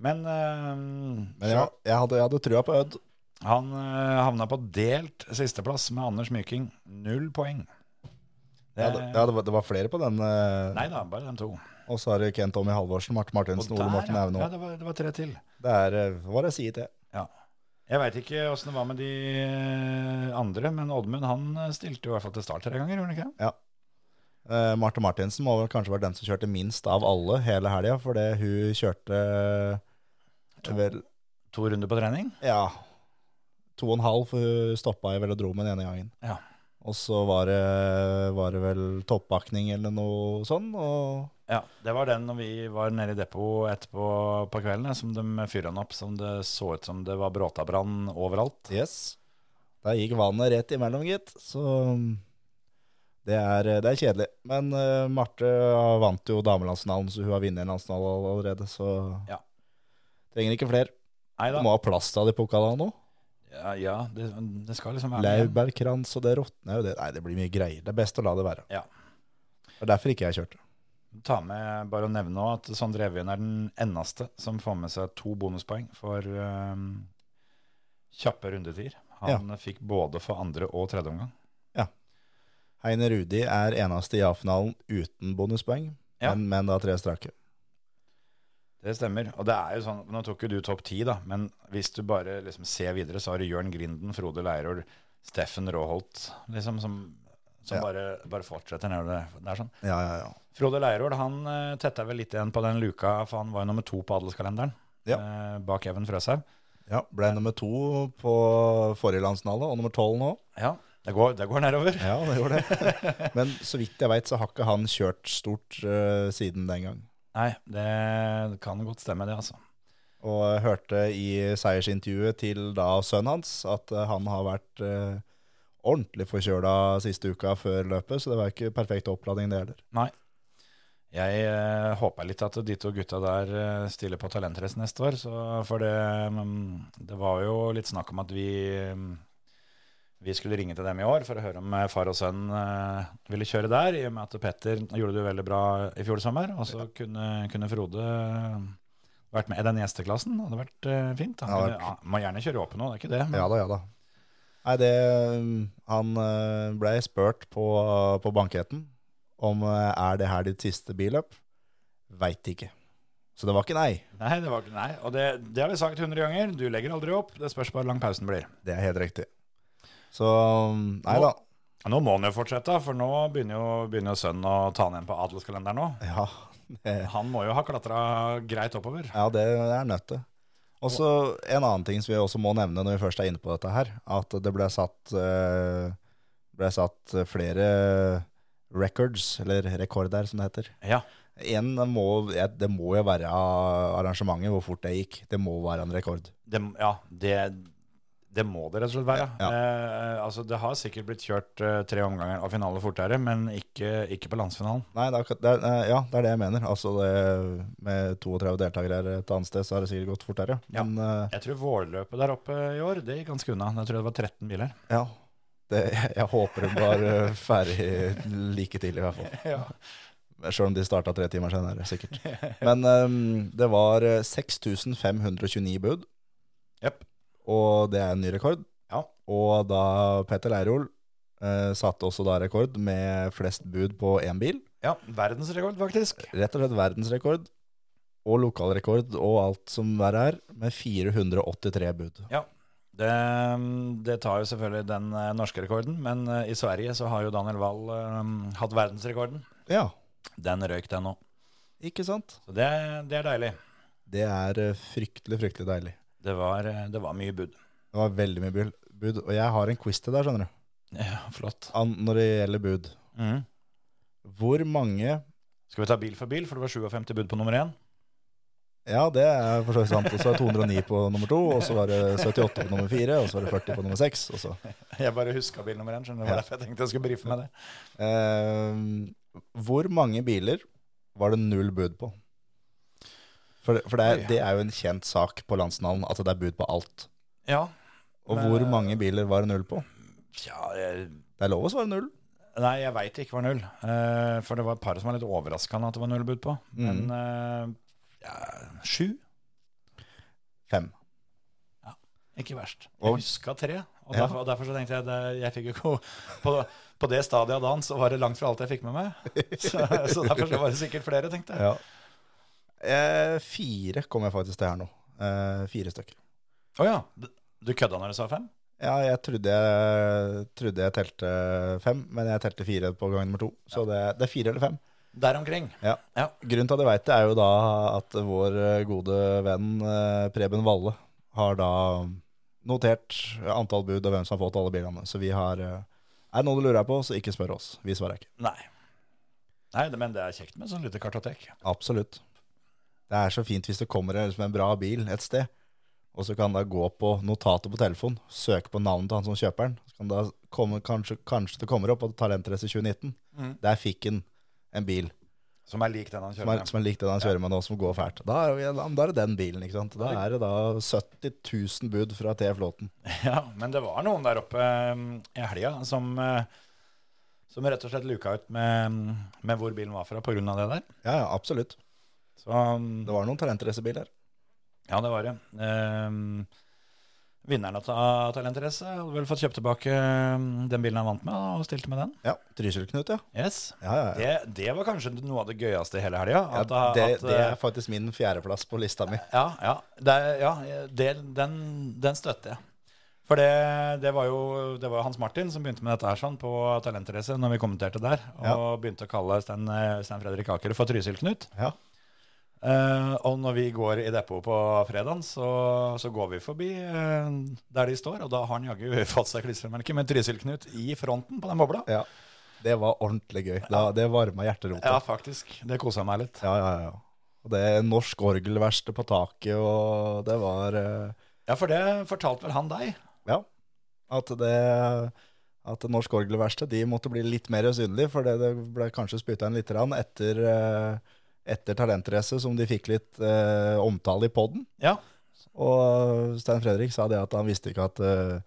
Speaker 3: Men, eh,
Speaker 4: Men jeg, jeg, hadde, jeg hadde trua på Ødd.
Speaker 3: han eh, havna på delt sisteplass med Anders Myking. Null poeng.
Speaker 4: Ja, det, ja, det, var, det var flere på den. eh,
Speaker 3: Nei da, bare de to.
Speaker 4: Og så har du Kent Tommy Halvorsen, Marte Martinsen, Ole Morten
Speaker 3: ja,
Speaker 4: Aune.
Speaker 3: ja, det var, det var tre til.
Speaker 4: Det er eh, hva det sier til.
Speaker 3: Ja. Jeg veit ikke åssen det var med de eh, andre, men Oddmund han eh, stilte jo i hvert fall til start tre ganger, gjorde han ikke? det?
Speaker 4: Eh, Marte Martinsen må vel kanskje være den som kjørte minst av alle hele helga, fordi hun kjørte eh, vel
Speaker 3: To runder på trening.
Speaker 4: Ja, to og en halv, for hun stoppa i velodromen ene gangen.
Speaker 3: Ja.
Speaker 4: Og så var det, var det vel toppbakning eller noe sånn, og
Speaker 3: Ja, Det var den når vi var nede i depot etterpå på kvelden, ja, som de fyrte han opp som det så ut som det var bråtabrann overalt.
Speaker 4: yes. Der gikk vannet rett imellom, gitt. Så mm, det er, det er kjedelig. Men eh, Marte vant jo damelandsfinalen, så hun har vunnet en landsfinale allerede, så
Speaker 3: Ja.
Speaker 4: trenger ikke flere.
Speaker 3: Nei da.
Speaker 4: Du må ha plass til alle de pokalene nå.
Speaker 3: Ja, ja det, det skal liksom være med.
Speaker 4: Laurbærkrans, og det råtner jo det. Nei, det blir mye greier. Det er best å la det være.
Speaker 3: Ja.
Speaker 4: Det er derfor ikke jeg kjørte.
Speaker 3: Ta med, bare å nevne også at Sondre Evjen er den eneste som får med seg to bonuspoeng for øhm, kjappe rundetider. Han fikk både for andre og tredje omgang.
Speaker 4: Heine Rudi er eneste i A-finalen uten bonuspoeng,
Speaker 3: Ja.
Speaker 4: men, men da tre strake.
Speaker 3: Det stemmer. Og det er jo sånn, nå tok jo du topp ti, da, men hvis du bare liksom ser videre, så har du Jørn Grinden, Frode Leirol, Steffen Råholt, liksom, som, som
Speaker 4: Ja.
Speaker 3: bare, bare fortsetter nedover det. Det er sånn.
Speaker 4: Ja, ja, ja.
Speaker 3: Frode Leirol han eh, tetta vel litt igjen på den luka, for han var jo nummer to på adelskalenderen eh, bak Even Frøshaug.
Speaker 4: Ja, Ble nummer to på forrige landsfinale, og nummer tolv nå.
Speaker 3: Ja, det går, det går nedover.
Speaker 4: Ja, det gjorde det. men så vidt jeg veit, så har ikke han kjørt stort eh, siden den gang.
Speaker 3: Nei, det kan godt stemme det, altså.
Speaker 4: Og jeg hørte i seiersintervjuet til da sønnen hans at eh, han har vært eh, ordentlig forkjøla siste uka før løpet, så det var ikke perfekt oppladning det heller.
Speaker 3: Nei. Jeg eh, håper litt at de to gutta der eh, stiller på Talentrace neste år, så for det, mm, det var jo litt snakk om at vi, mm, vi skulle ringe til dem i år for å høre om eh, far og sønn eh, ville kjøre der, i og med at Petter gjorde det jo veldig bra i fjor sommer, og så kunne, kunne Frode mm, vært med i den gjesteklassen, det hadde vært eh, fint. Han
Speaker 4: Ja,
Speaker 3: kunne, ja, må gjerne kjøre åpen nå, det er ikke det. men-
Speaker 4: Ja da, ja da. Nei, det Han eh, ble spurt på, på banketten om eh, er det her ditt siste billøp. Veit ikke. Så det var ikke nei.
Speaker 3: Nei, det var ikke nei. Og det, det har vi sagt 100 ganger. Du legger aldri opp. Det spørs bare hvor lang pausen blir.
Speaker 4: Det er helt riktig. Så mm, nei da.
Speaker 3: Nå må han jo fortsette, for nå begynner jo, begynner jo sønnen å ta han igjen på adelskalenderen òg.
Speaker 4: Ja, det,
Speaker 3: Han må jo ha klatra greit oppover.
Speaker 4: ja, det er nødt til. Og så en annen ting som vi også må nevne når vi først er inne på dette her, at det ble satt, eh, ble satt flere records, eller rekorder som det heter,
Speaker 3: Ja.
Speaker 4: En må, ja, det må jo være arrangementet hvor fort det gikk. Det må være en rekord.
Speaker 3: Det, ja, det, det må det rett og slett være.
Speaker 4: Ja.
Speaker 3: Eh, altså, det har sikkert blitt kjørt eh, tre omganger av finale fortere, men ikke, ikke på landsfinalen.
Speaker 4: Nei, det er, akkurat- det er, eh, ja, det er det jeg mener. Altså det, med 32 deltakere et annet sted, så har det sikkert gått fortere.
Speaker 3: Ja.
Speaker 4: Men eh,
Speaker 3: Jeg tror vårløpet der oppe i år, det gikk ganske unna. Jeg tror det var 13 biler.
Speaker 4: ja, Det, jeg, jeg håper de var eh, ferdig like tidlig, i hvert fall.
Speaker 3: Ja.
Speaker 4: Sjøl om de starta tre timer senere, sikkert. Men ehm, det var eh, 6529 bud,
Speaker 3: Jepp.
Speaker 4: og det er en ny rekord.
Speaker 3: Ja.
Speaker 4: Og da Petter Leirol eh, satte også da rekord med flest bud på én bil.
Speaker 3: ja. Verdensrekord, faktisk.
Speaker 4: Rett og slett verdensrekord og lokalrekord og alt som verre er, med 483 bud.
Speaker 3: Det, mm, det tar jo selvfølgelig den eh, norske rekorden, men eh, i Sverige så har jo Daniel Wahl eh, hatt verdensrekorden.
Speaker 4: Ja,
Speaker 3: Den røyk, den òg.
Speaker 4: ikke sant?
Speaker 3: Så det, det er deilig.
Speaker 4: Det er eh, fryktelig, fryktelig deilig.
Speaker 3: Det var, eh, det var mye bud.
Speaker 4: Det var veldig mye bud, bud, og jeg har en quiz til deg, skjønner du,
Speaker 3: Ja, flott.
Speaker 4: an- når det gjelder bud.
Speaker 3: Mhm.
Speaker 4: Hvor mange
Speaker 3: Skal vi ta bil for bil, for det var 57 bud på nummer én?
Speaker 4: Ja, det er for så vidt sant. Og så er 209 på nummer to, og så var det 78 på nummer fire, og så var det 40 på nummer seks. og så-
Speaker 3: Jeg bare huska bil nummer én, skjønner du. Det var
Speaker 4: Ja.
Speaker 3: derfor jeg tenkte jeg skulle brife med det.
Speaker 4: Ehm, hvor mange biler var det null bud på? For, det, for det, er, det er jo en kjent sak på landsnavn at det er bud på alt.
Speaker 3: Ja.
Speaker 4: Og
Speaker 3: Men-
Speaker 4: hvor mange biler var det null på?
Speaker 3: ja jeg,
Speaker 4: Det er lov å svare null.
Speaker 3: nei, jeg veit det ikke var null. Eh, for det var et par som var litt overraskende at det var null bud på. Men eh, ja, sju?
Speaker 4: Fem.
Speaker 3: Ikke verst.
Speaker 4: Og-
Speaker 3: Jeg huska tre. Og
Speaker 4: Ja.
Speaker 3: derfor, og derfor så tenkte jeg det, jeg fikk jo ikke på, på det stadiet av dagen så var det langt fra alt jeg fikk med meg. Så, så derfor så var det sikkert flere, tenkte jeg.
Speaker 4: Ja. Eh, fire kom jeg faktisk til her nå. Eh, fire stykker.
Speaker 3: Å ja. Du, du kødda når du sa fem?
Speaker 4: Ja, jeg trodde jeg, trodde jeg telte fem, men jeg telte fire på gang nummer to. Så det, det er fire eller fem.
Speaker 3: Der omkring.
Speaker 4: Ja.
Speaker 3: Ja.
Speaker 4: Grunnen til at jeg veit det, er jo da at vår eh, gode venn eh, Preben Valle har da notert antall bud og hvem som har fått alle bilene. Så vi har eh, Er det noe du lurer på, så ikke spør oss. Vi svarer ikke.
Speaker 3: Nei. Nei, det- men det er kjekt med sånn lite kartotek.
Speaker 4: Absolutt. Det er så fint hvis det kommer en- liksom en bra bil et sted, og så kan da gå på notatet på telefon, søke på navnet til han som kjøper den. Så kan da komme, kanskje, kanskje det kommer opp at Talentrace 2019, der fikk han en bil
Speaker 3: Som er lik den han
Speaker 4: som
Speaker 3: Mm.
Speaker 4: er,
Speaker 3: kjører med.
Speaker 4: som er lik den han kjører med nå, som går fælt. Da er, jo- da er det den bilen, ikke sant? Da er det da 70 000 bud fra T. Flåten.
Speaker 3: Ja, men det var noen der oppe um, i helga som, eh, som rett og slett luka ut med, med hvor bilen var fra pga. det der.
Speaker 4: Ja, ja, absolutt.
Speaker 3: Så um,
Speaker 4: Det var noen talentracerbiler.
Speaker 3: Ja, det var det. Ehm, vinneren av Ta- Talentrace hadde vel fått kjøpt tilbake ehm, den bilen han vant med, og stilte med den.
Speaker 4: Ja, Trysil-Knut, ja.
Speaker 3: Yes.
Speaker 4: Ja, ja, ja.
Speaker 3: Det, det var kanskje noe av det gøyeste i hele helga.
Speaker 4: Ja,
Speaker 3: At, ja,
Speaker 4: det,
Speaker 3: at, eh,
Speaker 4: det er faktisk min fjerdeplass på lista mi.
Speaker 3: ja, ja, det, ja det, den, den støtter jeg. For det, det var jo det var jo Hans Martin som begynte med dette her sånn på Talentrace når vi kommenterte der, og
Speaker 4: Ja.
Speaker 3: begynte å kalle Stein, eh, Stein Fredrik Aker for Trysil-Knut.
Speaker 4: Ja.
Speaker 3: Eh, og når vi går i depot på fredagen, så, så går vi forbi eh, der de står, og da har han jaggu fått seg klistremerke med Trysil-Knut i fronten på den bobla.
Speaker 4: ja. Det var ordentlig gøy. Da, det varma
Speaker 3: Ja,
Speaker 4: hjerterota.
Speaker 3: faktisk. Det kosa meg litt.
Speaker 4: Ja, ja, ja. Og det er norsk orgelverksted på taket, og det var eh,
Speaker 3: Ja, for det fortalte vel han deg?
Speaker 4: Ja. At det at Norsk Orgelverksted de måtte bli litt mer synlig, for det, det ble kanskje spytta inn litt rann etter, eh, etter Talentrace, som de fikk litt eh, omtale i poden.
Speaker 3: Ja.
Speaker 4: Og Stein Fredrik sa det at han visste ikke at eh,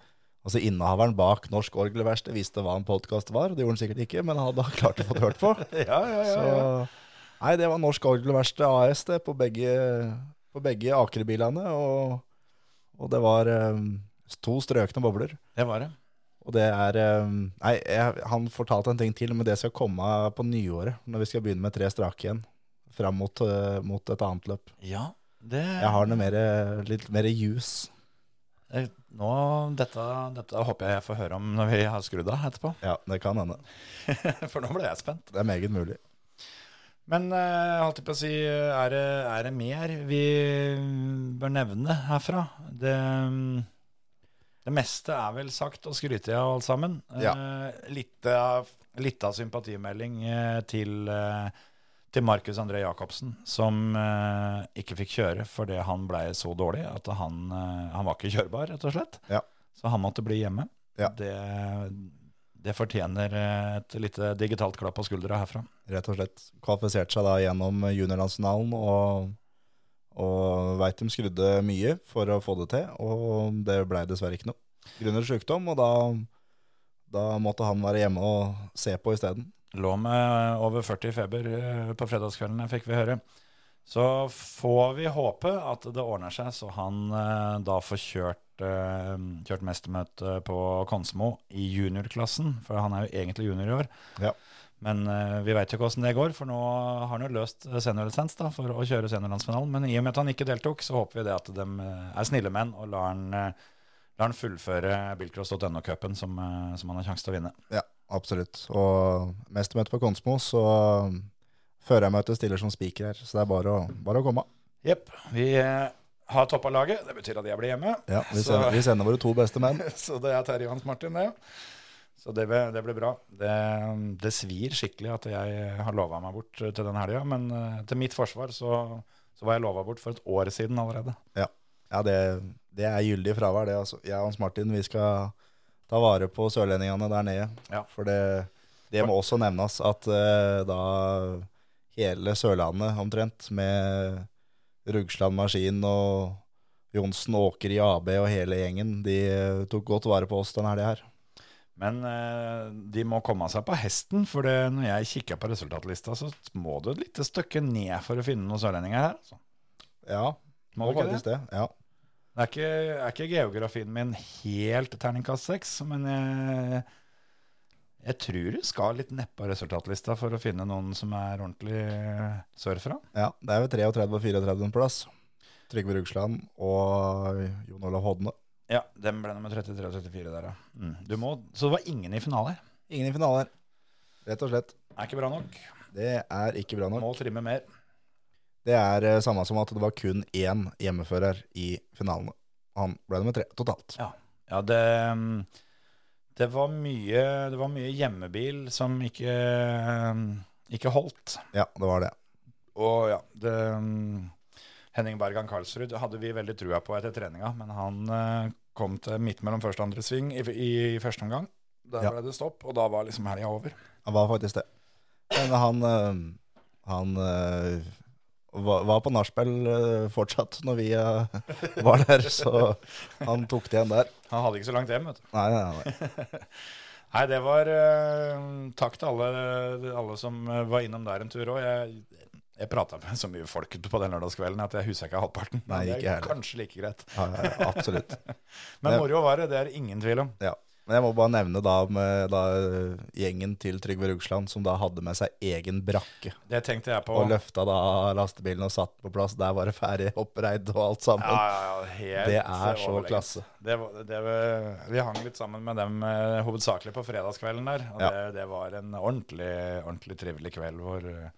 Speaker 4: Altså Innehaveren bak Norsk Orgelverksted visste hva en podkast var. Det gjorde han sikkert ikke, men han hadde klart å få det hørt på.
Speaker 3: Ja, ja, ja,
Speaker 4: Så
Speaker 3: ja.
Speaker 4: Nei, det var Norsk Orgelverksted AS det, på begge, på begge Aker-bilene. Og, og det var eh, to strøkne bobler.
Speaker 3: Det var det.
Speaker 4: Og det er eh, Nei, jeg, han fortalte en ting til, men det skal komme på nyåret. Når vi skal begynne med tre strake igjen. Fram mot, eh, mot et annet løp.
Speaker 3: Ja. Det,
Speaker 4: Jeg har noe mer, eh, litt mer juice.
Speaker 3: Eh, Nå, dette, dette håper jeg jeg får høre om når vi har skrudd av etterpå,
Speaker 4: Ja, det kan hende.
Speaker 3: for nå ble jeg spent.
Speaker 4: Det er meget mulig.
Speaker 3: Men eh, holdt jeg på å si, er det, er det mer vi bør nevne herfra? Det, det meste er vel sagt og skryter jeg av alt sammen. Eh, litt, av, litt av sympatimelding eh, til, eh, til Markus André Jacobsen, som eh, ikke fikk kjøre fordi han ble så dårlig at han, eh, han var ikke kjørbar, rett og slett.
Speaker 4: Ja.
Speaker 3: Så han måtte bli hjemme.
Speaker 4: Ja.
Speaker 3: Det, det fortjener eh, et lite digitalt klapp på skuldra herfra.
Speaker 4: Rett og slett. Kvalifiserte seg da gjennom juniorlandsfinalen og, og veit de skrudde mye for å få det til, og det blei dessverre ikke noe grunnet sykdom. Og da, Da måtte han være hjemme og se på isteden.
Speaker 3: Lå med over 40 i feber eh, på fredagskveldene, fikk vi høre. Så får vi håpe at det ordner seg, så han eh, da får kjørt, eh, kjørt mestermøte på Konsmo i juniorklassen, for han er jo egentlig junior i år.
Speaker 4: Ja.
Speaker 3: Men eh, vi veit jo ikke åssen det går, for nå har han jo løst eh, seniorlisens da, for å kjøre seniorlandsfinalen. Men i og med at han ikke deltok, så håper vi det at de eh, er snille menn og lar han, eh, lar han fullføre bilcross.no-cupen som, eh, som han har sjanse til å vinne.
Speaker 4: Ja, absolutt. Og mestermøte på Konsmo, så førermøtet stiller som spiker her. Så det er bare å, bare å komme.
Speaker 3: Jepp. Vi eh, har toppa laget. Det betyr at jeg blir hjemme.
Speaker 4: Ja, vi,
Speaker 3: så,
Speaker 4: sender, vi sender våre to beste menn.
Speaker 3: så det er Terje og Hans Martin, det. Så det, blir- det blir bra. Det, det svir skikkelig at jeg eh, har lova meg bort til den helga, men eh, til mitt forsvar så, så var jeg lova bort for et år siden allerede.
Speaker 4: Ja, det, det er gyldig fravær, det. Altså. Jeg og Hans Martin, vi skal ta vare på sørlendingene der nede.
Speaker 3: Ja.
Speaker 4: For det, det må også nevnes at eh, da hele Sørlandet omtrent, med Rugsland Maskin og Johnsen Åker i AB og hele gjengen, de eh, tok godt vare på oss den helga her.
Speaker 3: Men eh, de må komme seg på hesten, for det, når jeg kikka på resultatlista, så må du et lite stykke ned for å finne noen sørlendinger her. altså.
Speaker 4: Ja,
Speaker 3: Må du ikke det?
Speaker 4: faktisk det. Ja.
Speaker 3: Det er ikke, er ikke geografien min helt terningkast seks, men jeg, jeg tror du skal litt neppe av resultatlista for å finne noen som er ordentlig sørfra.
Speaker 4: ja, det er jo 33 og 34 en plass. Trygve Rugsland og Jon Olav Hodne.
Speaker 3: Ja, den ble nummer 33 og 34 der, ja. Mm. Du må, så det var ingen i finale.
Speaker 4: Ingen i finalen, rett og slett.
Speaker 3: Er ikke bra nok.
Speaker 4: Det er ikke bra nok.
Speaker 3: Må trimme mer.
Speaker 4: Det er eh, samme som at det var kun én hjemmefører i finalene. Han ble nummer tre totalt.
Speaker 3: Ja, det, det, var mye, det var mye hjemmebil som ikke, ikke holdt.
Speaker 4: Ja, det var det.
Speaker 3: Og ja, det, mm, Henning Bergan Karlsrud hadde vi veldig trua på etter treninga, men han eh, kom til midt mellom første og andre sving i, i, første omgang. Der
Speaker 4: Ja.
Speaker 3: ble det stopp, og da var liksom helga over.
Speaker 4: Han var faktisk det. Men han, eh, han eh, var var på nachspiel eh, fortsatt når vi eh, var der, så han tok det igjen der.
Speaker 3: Han hadde ikke så langt hjem, vet du.
Speaker 4: Nei, nei, nei.
Speaker 3: Nei, det var eh, Takk til alle, alle som eh, var innom der en tur òg. Jeg, jeg prata med så mye folk på den lørdagskvelden at jeg huska ikke halvparten. Men
Speaker 4: Nei,
Speaker 3: det er
Speaker 4: ikke jeg heller.
Speaker 3: kanskje like greit.
Speaker 4: Ja, ja, ja, absolutt.
Speaker 3: Men
Speaker 4: Det-
Speaker 3: moro var det, det er ingen tvil om.
Speaker 4: Ja. Men jeg må bare nevne da, med, da eh, gjengen til Trygve Rugsland som da hadde med seg egen brakke.
Speaker 3: Det tenkte jeg på.
Speaker 4: Og løfta da lastebilen og satt på plass. Der var det ferdig oppreid og alt sammen.
Speaker 3: Ja, ja, ja, helt
Speaker 4: Det er så
Speaker 3: overlegent.
Speaker 4: klasse.
Speaker 3: Det, var- det, var- vi hang litt sammen med dem eh, hovedsakelig på fredagskvelden der. Og
Speaker 4: Ja.
Speaker 3: det, det var en ordentlig, ordentlig trivelig kveld hvor eh,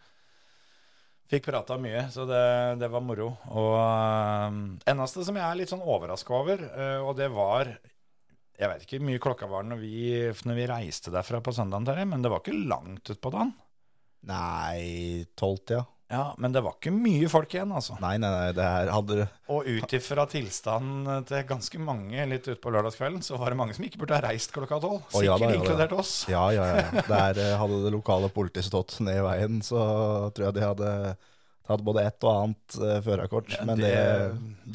Speaker 3: Fikk prata mye, så det, det var moro. Og eh, eneste som jeg er litt sånn overraska over, eh, og det var Jeg vet ikke hvor mye klokka var når vi, når vi reiste derfra på søndagen, Terje, men det var ikke langt utpå dagen.
Speaker 4: Nei, tolvtida.
Speaker 3: Ja, men det var ikke mye folk igjen, altså.
Speaker 4: Nei, nei, nei, det her hadde
Speaker 3: Og ut ifra tilstanden eh, til ganske mange litt utpå lørdagskvelden, så var det mange som ikke burde ha reist klokka tolv.
Speaker 4: Å, ja
Speaker 3: Sikkert
Speaker 4: da, ja da.
Speaker 3: inkludert oss.
Speaker 4: Ja, ja, ja. Der eh, hadde det lokale politiet stått ned i veien, så tror jeg de hadde tatt både ett og annet eh, førerkort. Men det,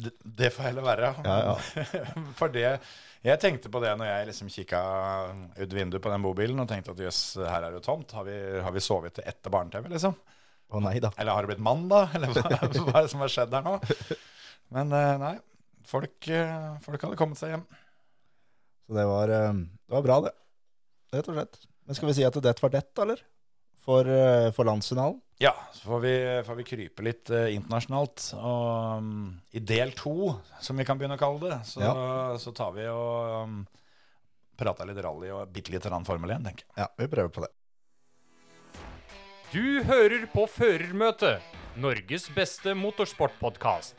Speaker 3: det, det får heller være.
Speaker 4: Ja,
Speaker 3: For det Jeg tenkte på det når jeg liksom kikka ut vinduet på den bobilen og tenkte at jøss, her er det jo tomt. Har vi, har vi sovet til etter barne-TV, liksom?
Speaker 4: Å nei da.
Speaker 3: Eller har det blitt mandag? Eller hva, hva er det som har skjedd her nå? Men eh, nei. Folk, eh, folk hadde kommet seg hjem.
Speaker 4: Så det var, eh, det var bra, det. Rett og slett. Men skal vi si at det var det, eller? For, eh, for landsfinalen?
Speaker 3: Ja, så får vi, får vi krype litt eh, internasjonalt. Og um, i del to, som vi kan begynne å kalle det, så, så tar vi og um, prater litt rally og bitte lite grann Formel 1, tenker jeg.
Speaker 4: Ja, vi prøver på det.
Speaker 5: Du hører på Førermøtet, Norges beste motorsportpodkast.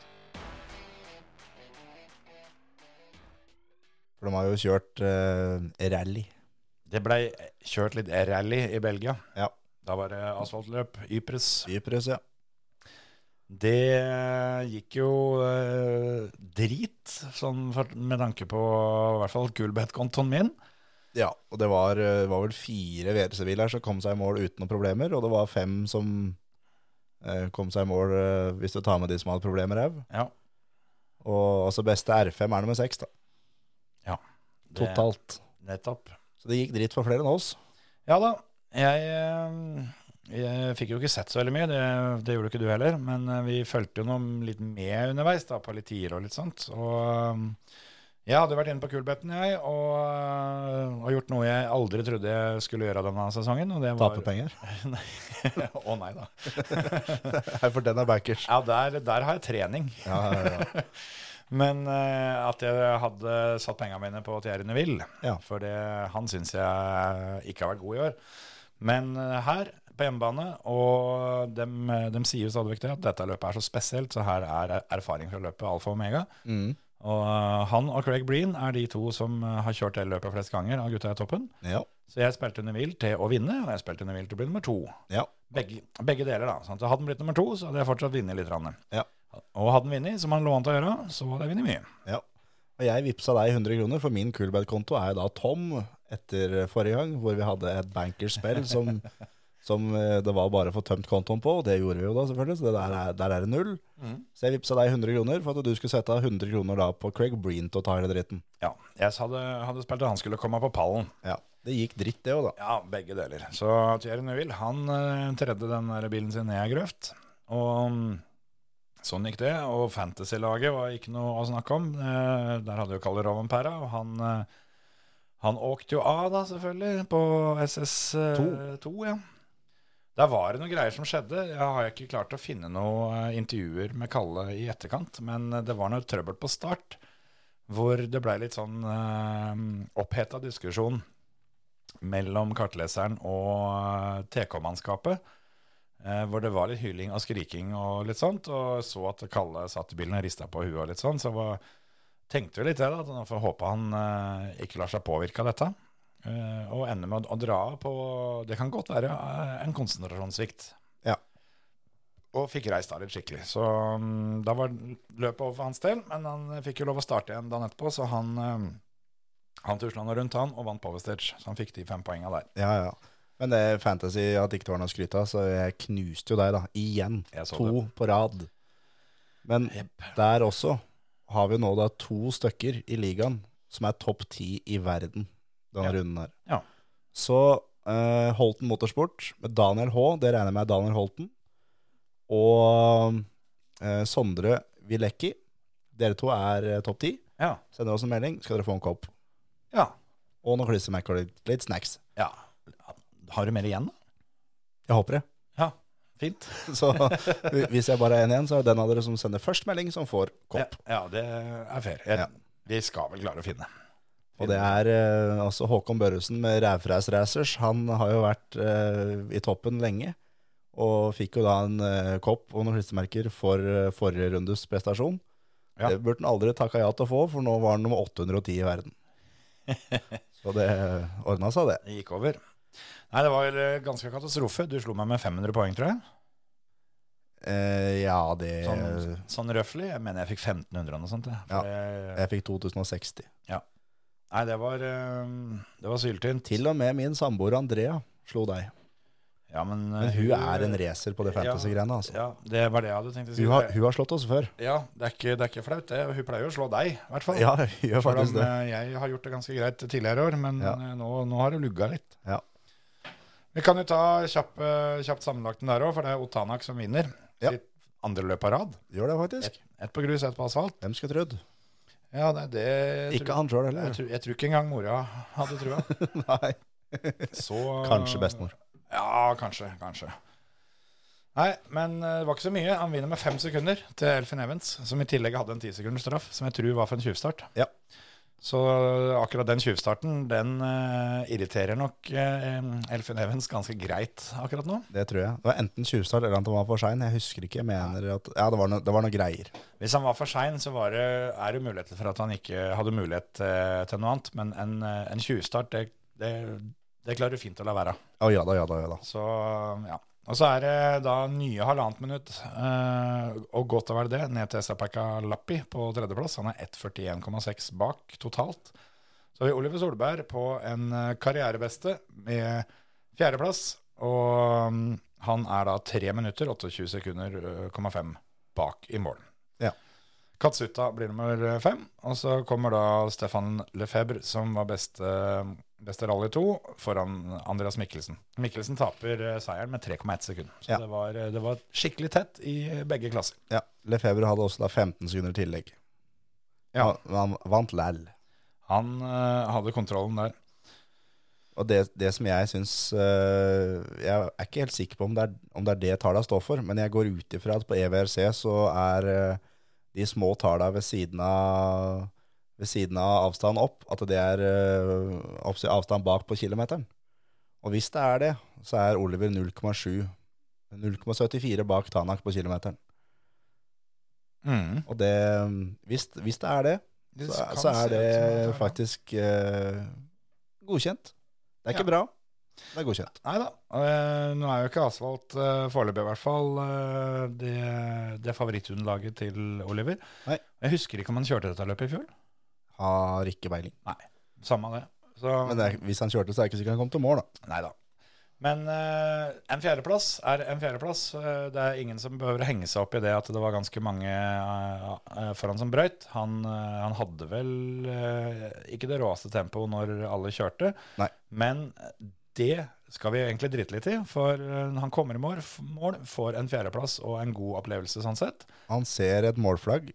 Speaker 4: For de har jo kjørt eh, rally.
Speaker 3: Det ble eh, kjørt litt rally i Belgia.
Speaker 4: Ja.
Speaker 3: Da var det asfaltløp, Ypres.
Speaker 4: Cyprus, ja.
Speaker 3: Det gikk jo eh, drit, sånn for, med tanke på i hvert fall Gulbeth-kontoen min.
Speaker 4: Ja, og det var, eh, var vel fire VRC-biler som kom seg i mål uten noen problemer, og det var fem som eh, kom seg i mål eh, hvis du tar med de som hadde problemer òg.
Speaker 3: Ja,
Speaker 4: Og altså beste R5 er nummer seks, da.
Speaker 3: ja. Det-
Speaker 4: Totalt.
Speaker 3: Nettopp.
Speaker 4: Så det gikk dritt for flere enn oss.
Speaker 3: Ja da. Jeg, eh, jeg fikk jo ikke sett så veldig mye, det, det gjorde ikke du heller. Men eh, vi fulgte jo noe litt med underveis, da, på litt tider og litt sånt. Og eh, jeg hadde vært inne på Kulbetten, jeg, og, eh, og gjort noe jeg aldri trodde jeg skulle gjøre denne sesongen. Og det var
Speaker 4: Tape penger.
Speaker 3: Nei. Å nei da.
Speaker 4: Nei, for den er backers.
Speaker 3: Ja, der, der har jeg trening.
Speaker 4: Ja, ja, ja.
Speaker 3: Men eh, at jeg hadde satt pengene mine på Thierry Neville,
Speaker 4: Ja.
Speaker 3: for det, han syns jeg ikke har vært god i år. Men eh, her på hjemmebane, og de, sier jo stadig vekk det, at dette løpet er så spesielt, så her er erfaring fra løpet alfa og omega.
Speaker 4: Mm.
Speaker 3: Og eh, han og Craig Breen er de to som eh, har kjørt det løpet flest ganger av gutta i toppen.
Speaker 4: ja.
Speaker 3: Så jeg spilte Neville til å vinne, og jeg spilte Neville til å bli nummer to.
Speaker 4: ja.
Speaker 3: Begge, begge deler, da. Sant? Så hadde han blitt nummer to, så hadde jeg fortsatt vunnet litt. grann.
Speaker 4: Ja.
Speaker 3: Og hadde han vunnet, som han lå an til å gjøre, så hadde jeg vunnet mye.
Speaker 4: Ja. Og jeg vippsa deg 100 kroner, for min Coolbad-konto er jo da tom etter forrige gang, hvor vi hadde et bankerspill som, som eh, det var bare å få tømt kontoen på, og det gjorde vi jo da selvfølgelig, så det der er, der er det null. Så jeg vippsa deg 100 kroner for at du skulle sette 100 kroner da på Craig Breen til å ta hele dritten.
Speaker 3: Ja, jeg hadde, hadde spilt at han skulle komme på pallen.
Speaker 4: Ja. Det gikk dritt det òg, da.
Speaker 3: Ja, begge deler. Så Thierry Neuville, han eh, tredde den der bilen sin ned i grøft. Og mm, sånn gikk det. Og fantasy-laget var ikke noe å snakke om. Eh, der hadde jo Kalle Rovenpera, og han, eh, han åkte jo av da, selvfølgelig, på SS2. ja. Der var det noen greier som skjedde. Jeg har ikke klart å finne noen eh, intervjuer med Kalle i etterkant, men eh, det var noe trøbbel på start, hvor det ble litt sånn eh, oppheta diskusjon mellom kartleseren og eh, TK-mannskapet, eh, hvor det var litt hyling og skriking og litt sånt, og så at Kalle satt i bilen og rista på huet og litt sånn, så var, tenkte jo litt det da, at nå får jeg håpe han eh, ikke lar seg påvirke av dette, eh, og ender med å, å dra på, det kan godt være eh, en konsentrasjonssvikt.
Speaker 4: Ja.
Speaker 3: Og fikk reist av litt skikkelig, så mm, da var løpet over for hans del, men han fikk jo lov å starte igjen dagen etterpå, så han... eh, han tusla nå rundt han og vant Povestage, så han fikk de fem poengene der.
Speaker 4: Ja, ja. Men det er fantasy at det ikke var noe å skryte av, så jeg knuste jo deg, da. Igjen.
Speaker 3: Jeg så
Speaker 4: To på rad. Men der også har vi nå da to stykker i ligaen som er topp ti i verden denne
Speaker 3: Ja.
Speaker 4: runden her.
Speaker 3: Ja.
Speaker 4: Så eh, Holten Motorsport med Daniel H, det regner jeg med er Daniel Holten, og eh, Sondre Vilecki. Dere to er eh, topp ti.
Speaker 3: Ja.
Speaker 4: Sender oss en melding, skal dere få en kopp.
Speaker 3: Ja.
Speaker 4: Og noen klissemacker og litt, litt snacks.
Speaker 3: ja. Har du mer igjen, da?
Speaker 4: Jeg håper det.
Speaker 3: Ja. Fint.
Speaker 4: Så hvis jeg bare er en igjen, så er det den av dere som sender først melding, som får kopp.
Speaker 3: Ja, ja, det er fair. Jeg,
Speaker 4: Ja.
Speaker 3: Vi skal vel klare å finne.
Speaker 4: Og det er eh, altså Håkon Børresen med Rævfræs Racers. Han har jo vært eh, i toppen lenge, og fikk jo da en eh, kopp og noen klistremerker for eh, forrige rundes prestasjon.
Speaker 3: Ja.
Speaker 4: Det burde han aldri takka ja til å få, for nå var han nummer 810 i verden. Så det ordna seg, det.
Speaker 3: Det gikk over. Nei, det var vel eh, ganske katastrofe. Du slo meg med 500 poeng, tror jeg.
Speaker 4: Eh, ja, det Eh.
Speaker 3: Sånn, sånn røffelig. Jeg mener jeg fikk 1500 eller noe sånt. jeg. For det-
Speaker 4: Jeg fikk 2060.
Speaker 3: Nei, det var, eh, det var syltynt.
Speaker 4: Til og med min samboer Andrea slo deg.
Speaker 3: Ja, men, eh,
Speaker 4: Men hun er en racer på de fantasy-greiene, altså.
Speaker 3: Ja, det var det jeg hadde tenkt å si.
Speaker 4: Hun har, hun har slått oss før.
Speaker 3: Ja, det er ikke, det er ikke flaut, det. Hun pleier jo å slå deg, i hvert fall.
Speaker 4: Ja, hun gjør
Speaker 3: Selv om
Speaker 4: faktisk det.
Speaker 3: eh, jeg har gjort det ganske greit tidligere år, men
Speaker 4: Ja.
Speaker 3: eh, nå, nå har det lugga litt.
Speaker 4: Ja.
Speaker 3: Vi kan jo ta kjapp, eh, kjapt sammenlagten der òg, for det er Otanak som vinner.
Speaker 4: Ja.
Speaker 3: Sitt andre løp på rad.
Speaker 4: Gjør det faktisk.
Speaker 3: Ett på grus, ett på asfalt.
Speaker 4: Hvem skulle trodd?
Speaker 3: Ja, det, det jeg
Speaker 4: Ikke
Speaker 3: tror,
Speaker 4: han sjøl
Speaker 3: jeg,
Speaker 4: heller.
Speaker 3: tror, jeg tror ikke engang mora hadde trua.
Speaker 4: Nei.
Speaker 3: Så,
Speaker 4: Kanskje bestemor.
Speaker 3: Ja, kanskje. Kanskje. Nei, men eh, det var ikke så mye. Han vinner med fem sekunder til Elfin Evans, som i tillegg hadde en tisekunders straff, som jeg tror var for en tjuvstart.
Speaker 4: Ja.
Speaker 3: Så eh, akkurat den tjuvstarten, den eh, irriterer nok eh, Elfin Evans ganske greit akkurat nå.
Speaker 4: Det tror jeg. Det var enten tjuvstart eller at han var for sein. Jeg husker ikke. Jeg mener at Ja, det var noe, det var noe greier.
Speaker 3: Hvis han var for sein, så var det, er det muligheter for at han ikke hadde mulighet eh, til noe annet, men en, eh, en tjuvstart, det, det, det klarer du fint å la være.
Speaker 4: Å ja da, ja da, ja da.
Speaker 3: Så ja. Og så er det da nye halvannet minutt, eh, og godt å være det, ned til Sapeka Lappi på tredjeplass. Han er 1,41,6 bak totalt. Så har vi Oliver Solberg på en eh, karrierebeste med fjerdeplass. Og mm, han er da 3 minutter 28 sekunder eh, 0,5 bak i mål.
Speaker 4: Ja.
Speaker 3: Katsuta blir nummer fem. Og så kommer da Stefan Lefebvre, som var beste Beste rally 2 foran Andreas Mikkelsen. Mikkelsen taper eh, seieren med 3,1 sekund. Så
Speaker 4: Ja.
Speaker 3: det, var, eh, det var skikkelig tett i begge klasser.
Speaker 4: Ja, Lefebvre hadde også da 15 sekunder tillegg.
Speaker 3: Ja.
Speaker 4: Han, han vant læll.
Speaker 3: Han eh, hadde kontrollen der.
Speaker 4: Og det, det som jeg syns eh, Jeg er ikke helt sikker på om det er, om det er det tallene står for, men jeg går ut ifra at på E EVRC så er eh, de små tallene ved siden av ved siden av avstand opp, at det er eh, oppsi- avstand bak på kilometeren. Og hvis det er det, så er Oliver 0,7 0,74 bak Tanak på kilometeren. Og det, hvis, hvis det er det,
Speaker 3: Det
Speaker 4: Mm. så,
Speaker 3: kan
Speaker 4: så
Speaker 3: se ut som
Speaker 4: er
Speaker 3: at
Speaker 4: det
Speaker 3: er-
Speaker 4: faktisk eh, godkjent. Det er
Speaker 3: Ja.
Speaker 4: ikke bra, det er godkjent.
Speaker 3: Nei da. eh, nå er jo ikke asfalt eh, foreløpig, i hvert fall. eh, det, det favorittunderlaget til Oliver.
Speaker 4: Nei.
Speaker 3: Jeg husker ikke om han kjørte dette løpet i fjor.
Speaker 4: Har ikke peiling.
Speaker 3: Samme av det. Så,
Speaker 4: Men det er, hvis han kjørte, så er det ikke sikkert han kom til mål, da.
Speaker 3: Nei da. Men eh, en fjerdeplass er en fjerdeplass. Eh, det er ingen som behøver å henge seg opp i det at det var ganske mange eh, eh, foran som brøyt. Han, eh, han hadde vel eh, ikke det råeste tempoet når alle kjørte,
Speaker 4: Nei.
Speaker 3: men det skal vi egentlig drite litt i, for eh, han kommer i mål, f- mål, får en fjerdeplass og en god opplevelse sånn sett.
Speaker 4: Han ser et målflagg,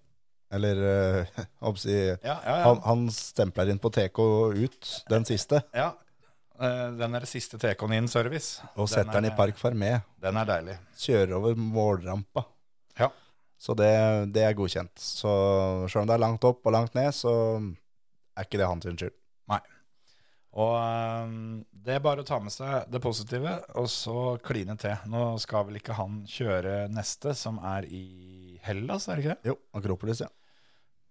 Speaker 4: eller eh, hva skal jeg si,
Speaker 3: Ja, ja, ja.
Speaker 4: han, han stempler inn på TK ut, den siste,
Speaker 3: ja. Eh, Den er det siste TK-en inn service.
Speaker 4: og setter
Speaker 3: er-
Speaker 4: den i Park Fermé.
Speaker 3: Den er deilig.
Speaker 4: Kjører over målrampa.
Speaker 3: Ja.
Speaker 4: Så det, det er godkjent. Så selv om det er langt opp og langt ned, så er ikke det hans skyld.
Speaker 3: Og øhm, det er bare å ta med seg det positive, og så kline til. Nå skal vel ikke han kjøre neste, som er i Hellas, er det ikke det?
Speaker 4: Jo, Akropolis, ja.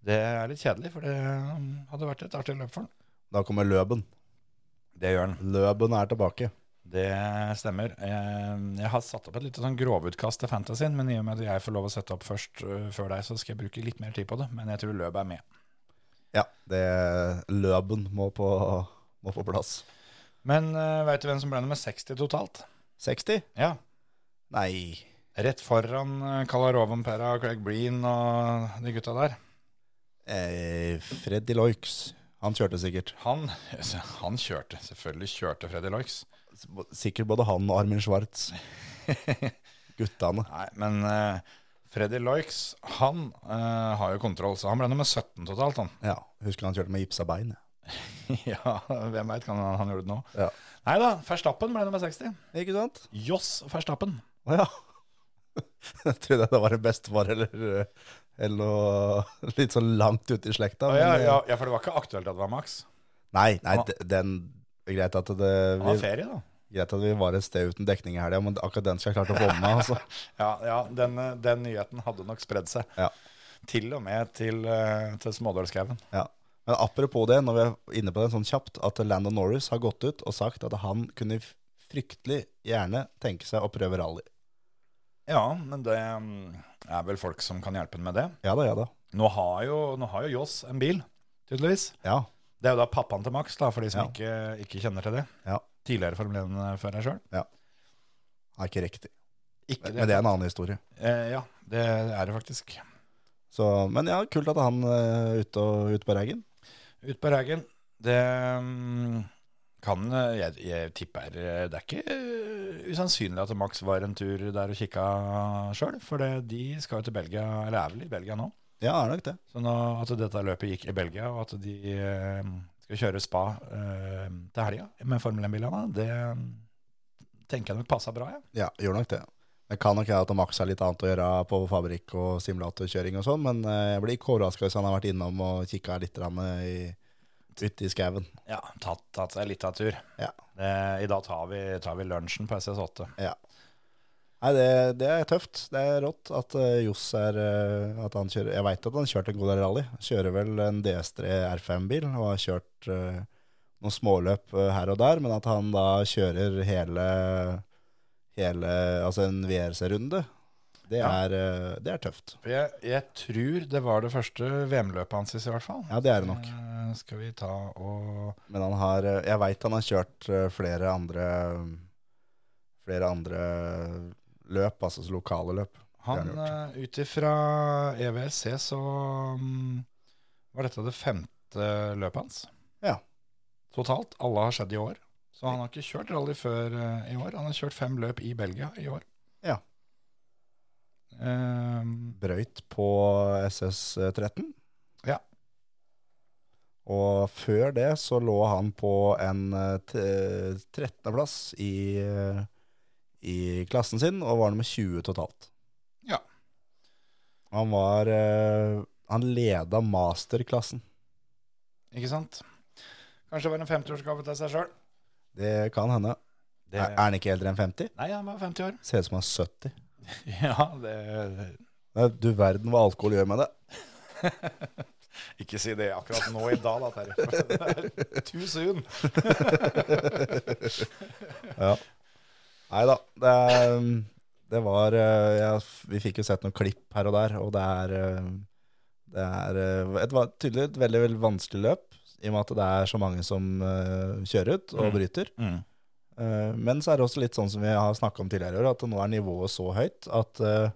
Speaker 3: Det er litt kjedelig, for det øhm, hadde vært et artig løp for han.
Speaker 4: Da kommer Løben.
Speaker 3: Det gjør han.
Speaker 4: Løben er tilbake.
Speaker 3: Det stemmer. Ehm, Jeg har satt opp et lite sånn grovutkast til fantasyen, men i og med at jeg får lov å sette opp først øh, før deg, så skal jeg bruke litt mer tid på det. Men jeg tror løpet er med.
Speaker 4: Ja, det, Løben må på, må på plass.
Speaker 3: Men øh, vet du hvem som ble nummer 60 totalt?
Speaker 4: 60?
Speaker 3: Ja,
Speaker 4: Nei.
Speaker 3: rett foran øh, Kalaroven Pera og Craig Breen og de gutta der.
Speaker 4: Eh, Freddy Loix. Han kjørte sikkert.
Speaker 3: Han, altså, han kjørte, selvfølgelig kjørte Freddy Loix.
Speaker 4: Sikkert både han og Armin Schwartz. Guttene.
Speaker 3: Nei, men eh, Freddy Loix, han eh, har jo kontroll, så han ble nummer 17 totalt, han.
Speaker 4: Ja, husker han kjørte med gipsa bein. jeg.
Speaker 3: ja, hvem veit, kan han, han gjorde det nå?
Speaker 4: Ja.
Speaker 3: Nei da, Verstappen ble nummer 60.
Speaker 4: Ikke sant?
Speaker 3: Joss Verstappen.
Speaker 4: Å ja. Jeg trodde det var en bestefar eller, eller noe litt sånn langt ute i slekta.
Speaker 3: Å,
Speaker 4: men-
Speaker 3: ja,
Speaker 4: eh,
Speaker 3: ja, ja, for det var ikke aktuelt at det var Max.
Speaker 4: Nei, nei,
Speaker 3: Han-
Speaker 4: de- den Greit at, det,
Speaker 3: Han
Speaker 4: vi,
Speaker 3: har ferie, da.
Speaker 4: greit at vi var et sted uten dekning i helga, men akkurat den skal jeg klart å få med meg. Altså.
Speaker 3: Ja, ja den, eh, den nyheten hadde nok spredd seg.
Speaker 4: Ja.
Speaker 3: Til og med til, eh, til Smådølskauen.
Speaker 4: Ja. Men apropos det, når vi er inne på det sånn kjapt, at Landon Norris har gått ut og sagt at han kunne f- fryktelig gjerne tenke seg å prøve rally.
Speaker 3: Ja, men det mm, er vel folk som kan hjelpe ham med det.
Speaker 4: Ja da, ja da.
Speaker 3: Nå har jo, nå har jo Joss en bil, tydeligvis.
Speaker 4: Ja,
Speaker 3: Det er jo da pappaen til Max, da, for de som
Speaker 4: Ja.
Speaker 3: ikke, ikke kjenner til det.
Speaker 4: Ja.
Speaker 3: Tidligere Formel 1-fører sjøl.
Speaker 4: det er ikke riktig.
Speaker 3: Ikke
Speaker 4: Men det er en annen historie.
Speaker 3: Eh, ja, det er det faktisk.
Speaker 4: Så, men ja, kult at han eh, er ute, og- ute på Reigen.
Speaker 3: Ut på Reigen. Det mm, kan eh, Jeg, jeg tipper eh, Det er ikke eh, usannsynlig at Max var en tur der og kikka sjøl, for det, de skal jo til Belgia, eller er vel i Belgia nå.
Speaker 4: Ja, er nok det.
Speaker 3: Så nå, at dette løpet gikk i Belgia, og at de eh, skal kjøre spa eh, til helga med Formel 1-bilene, det mm, tenker jeg nok passa bra, jeg. Ja.
Speaker 4: Ja, gjør nok det. Det kan nok være at Max har litt annet å gjøre på fabrikk og simulatorkjøring og sånn, men eh, jeg blir ikke overraska hvis han har vært innom og kikka litt grann, eh, i, ute i skauen.
Speaker 3: Ja, tatt, tatt seg litt av tur.
Speaker 4: Ja.
Speaker 3: Eh, I dag tar vi, tar vi lunsjen på SS8.
Speaker 4: Ja. Nei, det, det er tøft. Det er rått at eh, Johs er eh, at han kjører, Jeg veit at han kjørte en god del rally. Kjører vel en DS3 R5-bil og har kjørt eh, noen småløp eh, her og der, men at han da kjører hele, hele Altså en VRC-runde, det,
Speaker 3: Ja.
Speaker 4: er, eh, det er tøft.
Speaker 3: For jeg, jeg tror det var det første VM-løpet hans, i hvert fall.
Speaker 4: Ja, det er det nok.
Speaker 3: Eh, skal vi ta og
Speaker 4: Men han har eh, Jeg veit han har kjørt eh, flere andre Flere andre løp, altså lokale løp.
Speaker 3: Han,
Speaker 4: Det har han
Speaker 3: eh, ut ifra E EWC, så mm, var dette det femte løpet hans.
Speaker 4: Ja.
Speaker 3: totalt. Alle har skjedd i år. Så han har ikke kjørt rally før eh, i år. Han har kjørt fem løp i Belgia i år.
Speaker 4: Ja.
Speaker 3: Ehm,
Speaker 4: brøyt på SS13.
Speaker 3: Ja.
Speaker 4: Og før det så lå han på en eh, t- 13. plass i, eh, i klassen sin, og var nummer 20 totalt.
Speaker 3: Ja.
Speaker 4: Han var eh, Han leda masterklassen.
Speaker 3: ikke sant? Kanskje det var en 50-årsgave til seg sjøl.
Speaker 4: Det kan hende. Er, er han ikke eldre enn 50?
Speaker 3: Nei, han var 50 år.
Speaker 4: Ser ut som han er 70.
Speaker 3: Ja, det
Speaker 4: Nei, Du verden hva alkohol gjør med det.
Speaker 3: Ikke si det akkurat nå i dag, da, Terje. for det er Too soon.
Speaker 4: Nei da. Det, er- um, det var eh, jeg, Vi fikk jo sett noen klipp her og der, og det er eh, Det er eh, et, va- tydelig et veldig, veldig vanskelig løp, i og med at det er så mange som eh, kjører ut og bryter. Eh, Men så er det også litt sånn som vi har snakka om tidligere i år, at nå er nivået så høyt at, eh,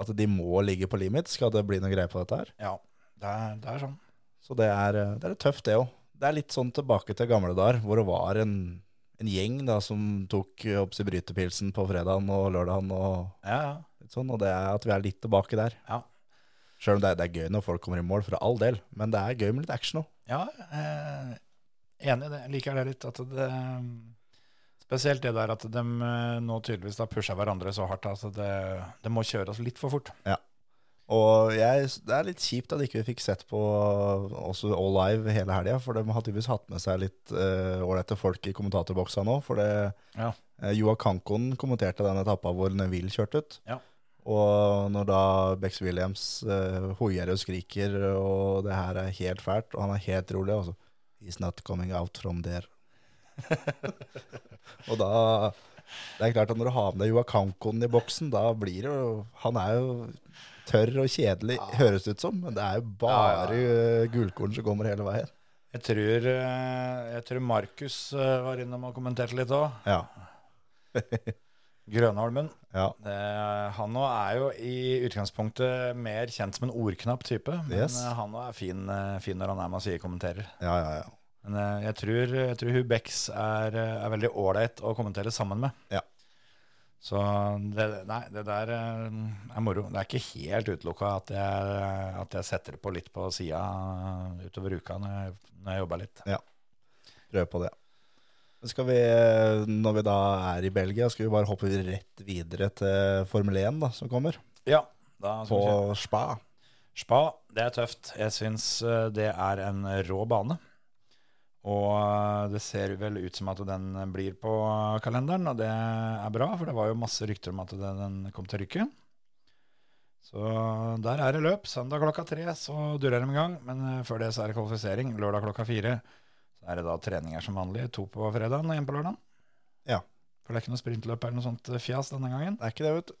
Speaker 4: at de må ligge på limit, skal det bli noe greie på dette her.
Speaker 3: Ja, det er, det er sånn.
Speaker 4: Så det er, eh, det er litt tøft, det òg. Det er litt sånn tilbake til gamle dager, hvor det var en, en gjeng da, som tok eh, opp sin brytepilsen på fredagen og lørdagen. Og,
Speaker 3: Ja, ja.
Speaker 4: litt sånn, og det er at vi er litt tilbake der.
Speaker 3: Ja.
Speaker 4: Sjøl om det, er- det er gøy når folk kommer i mål, for all del. Men det er gøy med litt action òg.
Speaker 3: Ja, eh, enig i det. Jeg liker det litt at det eh, Spesielt det der at de nå tydeligvis har pusha hverandre så hardt. Altså det, de må kjøre oss litt for fort.
Speaker 4: Og jeg, det er litt kjipt at ikke vi fikk sett på også All Live hele helga, for de har tydeligvis hatt med seg litt eh, ålreite folk i kommentatorboksa nå. For det,
Speaker 3: Ja.
Speaker 4: eh, Joa Kankon kommenterte den etappa hvor Neville kjørte ut.
Speaker 3: Ja.
Speaker 4: Og når da Bex Williams eh, hoier og skriker, og det her er helt fælt, og han er helt rolig, og så He's not coming out from there. og da Det er klart at når du har med deg Joa Kankon i boksen, da blir det jo Han er jo tørr og kjedelig, høres det ut som, men det er jo bare eh, gullkorn som kommer hele veien.
Speaker 3: Jeg tror, eh, jeg tror Markus eh, var innom og kommenterte litt òg.
Speaker 4: Ja.
Speaker 3: Grønholmen.
Speaker 4: ja.
Speaker 3: Det, Eh, han nå er jo i utgangspunktet mer kjent som en ordknapp type. Men
Speaker 4: Yes.
Speaker 3: eh, han nå er fin, eh, fin når han er med og sier kommenterer.
Speaker 4: Ja, ja, ja.
Speaker 3: Men eh, jeg tror, jeg tror hun Bex er, eh, er veldig ålreit å kommentere sammen med.
Speaker 4: Ja.
Speaker 3: Så det, nei, det der eh, er moro. Det er ikke helt utelukka at, jeg- at jeg setter det på litt på sida utover uka når jeg, når jeg jobber litt.
Speaker 4: Prøv på det. Men Skal vi, eh, når vi da er i Belgia, skal vi bare hoppe rett videre til Formel 1 da, som kommer,
Speaker 3: Ja, da skal
Speaker 4: på
Speaker 3: vi se.
Speaker 4: Spa.
Speaker 3: Spa, det er tøft. Jeg syns eh, det er en rå bane. Og eh, det ser vel ut som at den blir på kalenderen, og det er bra, for det var jo masse rykter om at den den kom til å rykke. Så der er det løp. Søndag klokka tre så durer de i gang, men eh, før det så er det kvalifisering. Lørdag klokka fire så er det da treninger som vanlig. To på fredagen og én på lørdagen.
Speaker 4: Ja.
Speaker 3: For det er ikke noe sprintløp eller noe sånt eh, fjas denne gangen.
Speaker 4: Det er ikke det, vet du.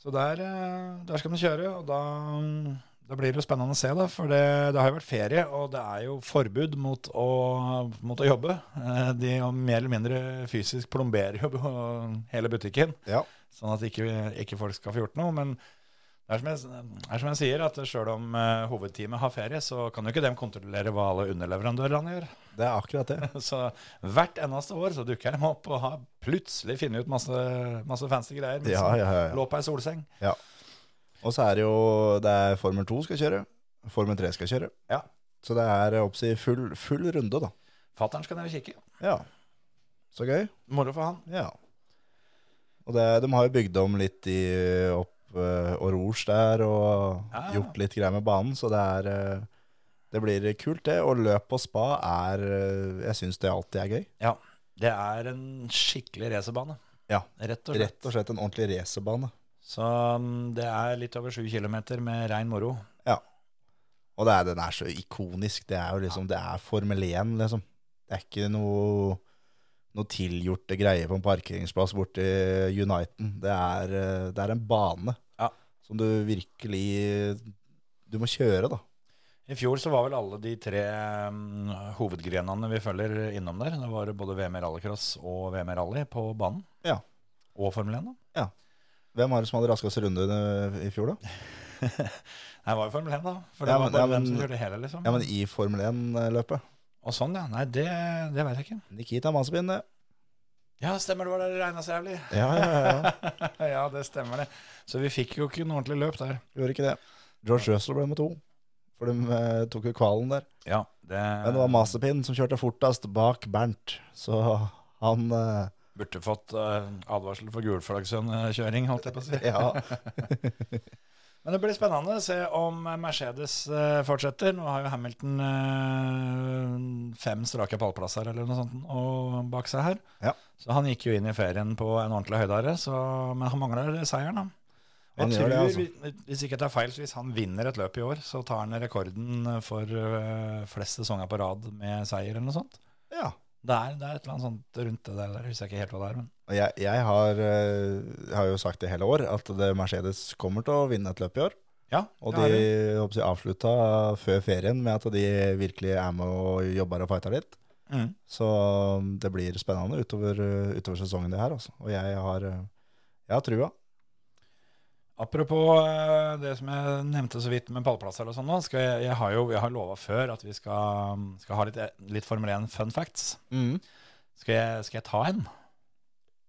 Speaker 3: Så der, eh, der skal de kjøre, og da, mm, da blir det jo spennende å se, da. For det, det har jo vært ferie, og det er jo forbud mot å, mot å jobbe. Eh, De jo mer eller mindre fysisk plomberer jo på hele butikken,
Speaker 4: Ja.
Speaker 3: sånn at ikke, ikke folk skal få gjort noe. Men det er som jeg, det er som jeg sier, at sjøl om eh, hovedteamet har ferie, så kan jo ikke dem kontrollere hva alle underleverandørene gjør.
Speaker 4: Det er akkurat det.
Speaker 3: Så hvert eneste år så dukker de opp og har plutselig funnet ut masse, masse fancy greier. mens
Speaker 4: Ja,
Speaker 3: de
Speaker 4: ja, ja, ja.
Speaker 3: Lå på ei solseng.
Speaker 4: Og så er det jo det er Formel 2 skal kjøre, Formel 3 skal kjøre.
Speaker 3: Ja.
Speaker 4: Så det er oppsi full, full runde, da.
Speaker 3: Fattern skal ned og kikke.
Speaker 4: Ja. Så gøy.
Speaker 3: Moro for han.
Speaker 4: Ja. Og det, de har jo bygd om litt i opp eh, og rouge der, og
Speaker 3: Ja.
Speaker 4: gjort litt greier med banen, så det er eh, Det blir kult, det. Og løp på spa er eh, Jeg syns det alltid er gøy.
Speaker 3: Ja. Det er en skikkelig racerbane.
Speaker 4: Ja.
Speaker 3: Rett og slett.
Speaker 4: Rett og slett en ordentlig racerbane.
Speaker 3: Så mm, det er litt over sju kilometer med rein moro.
Speaker 4: Og det er, den er så ikonisk. Det er jo liksom Det er Formel 1, liksom. Det er ikke noe noe tilgjorte greier på en parkeringsplass borti Uniten. Det er, eh, det er en bane
Speaker 3: Ja.
Speaker 4: som du virkelig Du må kjøre, da.
Speaker 3: I fjor så var vel alle de tre mm, hovedgrenene vi følger innom der. Det var både VM i rallycross og VM i rally på banen.
Speaker 4: Ja.
Speaker 3: Og Formel 1, da.
Speaker 4: Hvem var det som hadde raskest runde eh, i fjor, da?
Speaker 3: Nei, det var jo Formel 1, da. For det
Speaker 4: Ja,
Speaker 3: var
Speaker 4: men-
Speaker 3: bare
Speaker 4: ja, men-
Speaker 3: dem som kjørte hele, liksom.
Speaker 4: eh, Ja, men I Formel 1-løpet.
Speaker 3: Og sånn, ja. Nei, det, det veit jeg ikke.
Speaker 4: Nikita Mazepin, det.
Speaker 3: Ja, stemmer det var det regna så jævlig.
Speaker 4: Ja, ja, ja, ja.
Speaker 3: ja, det stemmer det. Så vi fikk jo ikke noe ordentlig løp der.
Speaker 4: Gjorde ikke det. George Russell ble med to. For de eh, tok jo kvalen der.
Speaker 3: Ja, det,
Speaker 4: Men det var Mazepin som kjørte fortest bak Bernt. Så han eh,
Speaker 3: Burde fått eh, advarsel for gulflaggsønnkjøring, holdt jeg på å si.
Speaker 4: Ja.
Speaker 3: Men det blir spennende å se om Mercedes eh, fortsetter. Nå har jo Hamilton eh, fem strake pallplasser eller noe sånt og bak seg her.
Speaker 4: Ja.
Speaker 3: Så han gikk jo inn i ferien på en ordentlig høydare, så, men han mangler seieren. da.
Speaker 4: Han
Speaker 3: Jeg
Speaker 4: gjør
Speaker 3: tror,
Speaker 4: det, altså.
Speaker 3: vi- Hvis ikke jeg tar feil, så hvis han vinner et løp i år, så tar han rekorden for eh, flest sesonger på rad med seier eller noe sånt.
Speaker 4: ja.
Speaker 3: Det er, det er et eller annet sånt rundt det der, jeg husker ikke helt hva det er. men...
Speaker 4: Og jeg, jeg har, eh, har jo sagt det hele år, at det Mercedes kommer til å vinne et løp i år.
Speaker 3: Ja,
Speaker 4: Og
Speaker 3: det har
Speaker 4: de
Speaker 3: du.
Speaker 4: håper jeg, avslutta før ferien med at de virkelig er med og jobber og fighter litt.
Speaker 3: Mm.
Speaker 4: Så um, det blir spennende utover, eh, utover sesongen det her. Altså. Og jeg har, eh, jeg har trua.
Speaker 3: Apropos eh, det som jeg nevnte så vidt med pallplasser og sånn nå, skal jeg, jeg har jo jeg har lova før at vi skal, skal ha litt, eh, litt Formel 1 fun facts.
Speaker 4: Mm.
Speaker 3: Skal jeg, skal jeg ta en,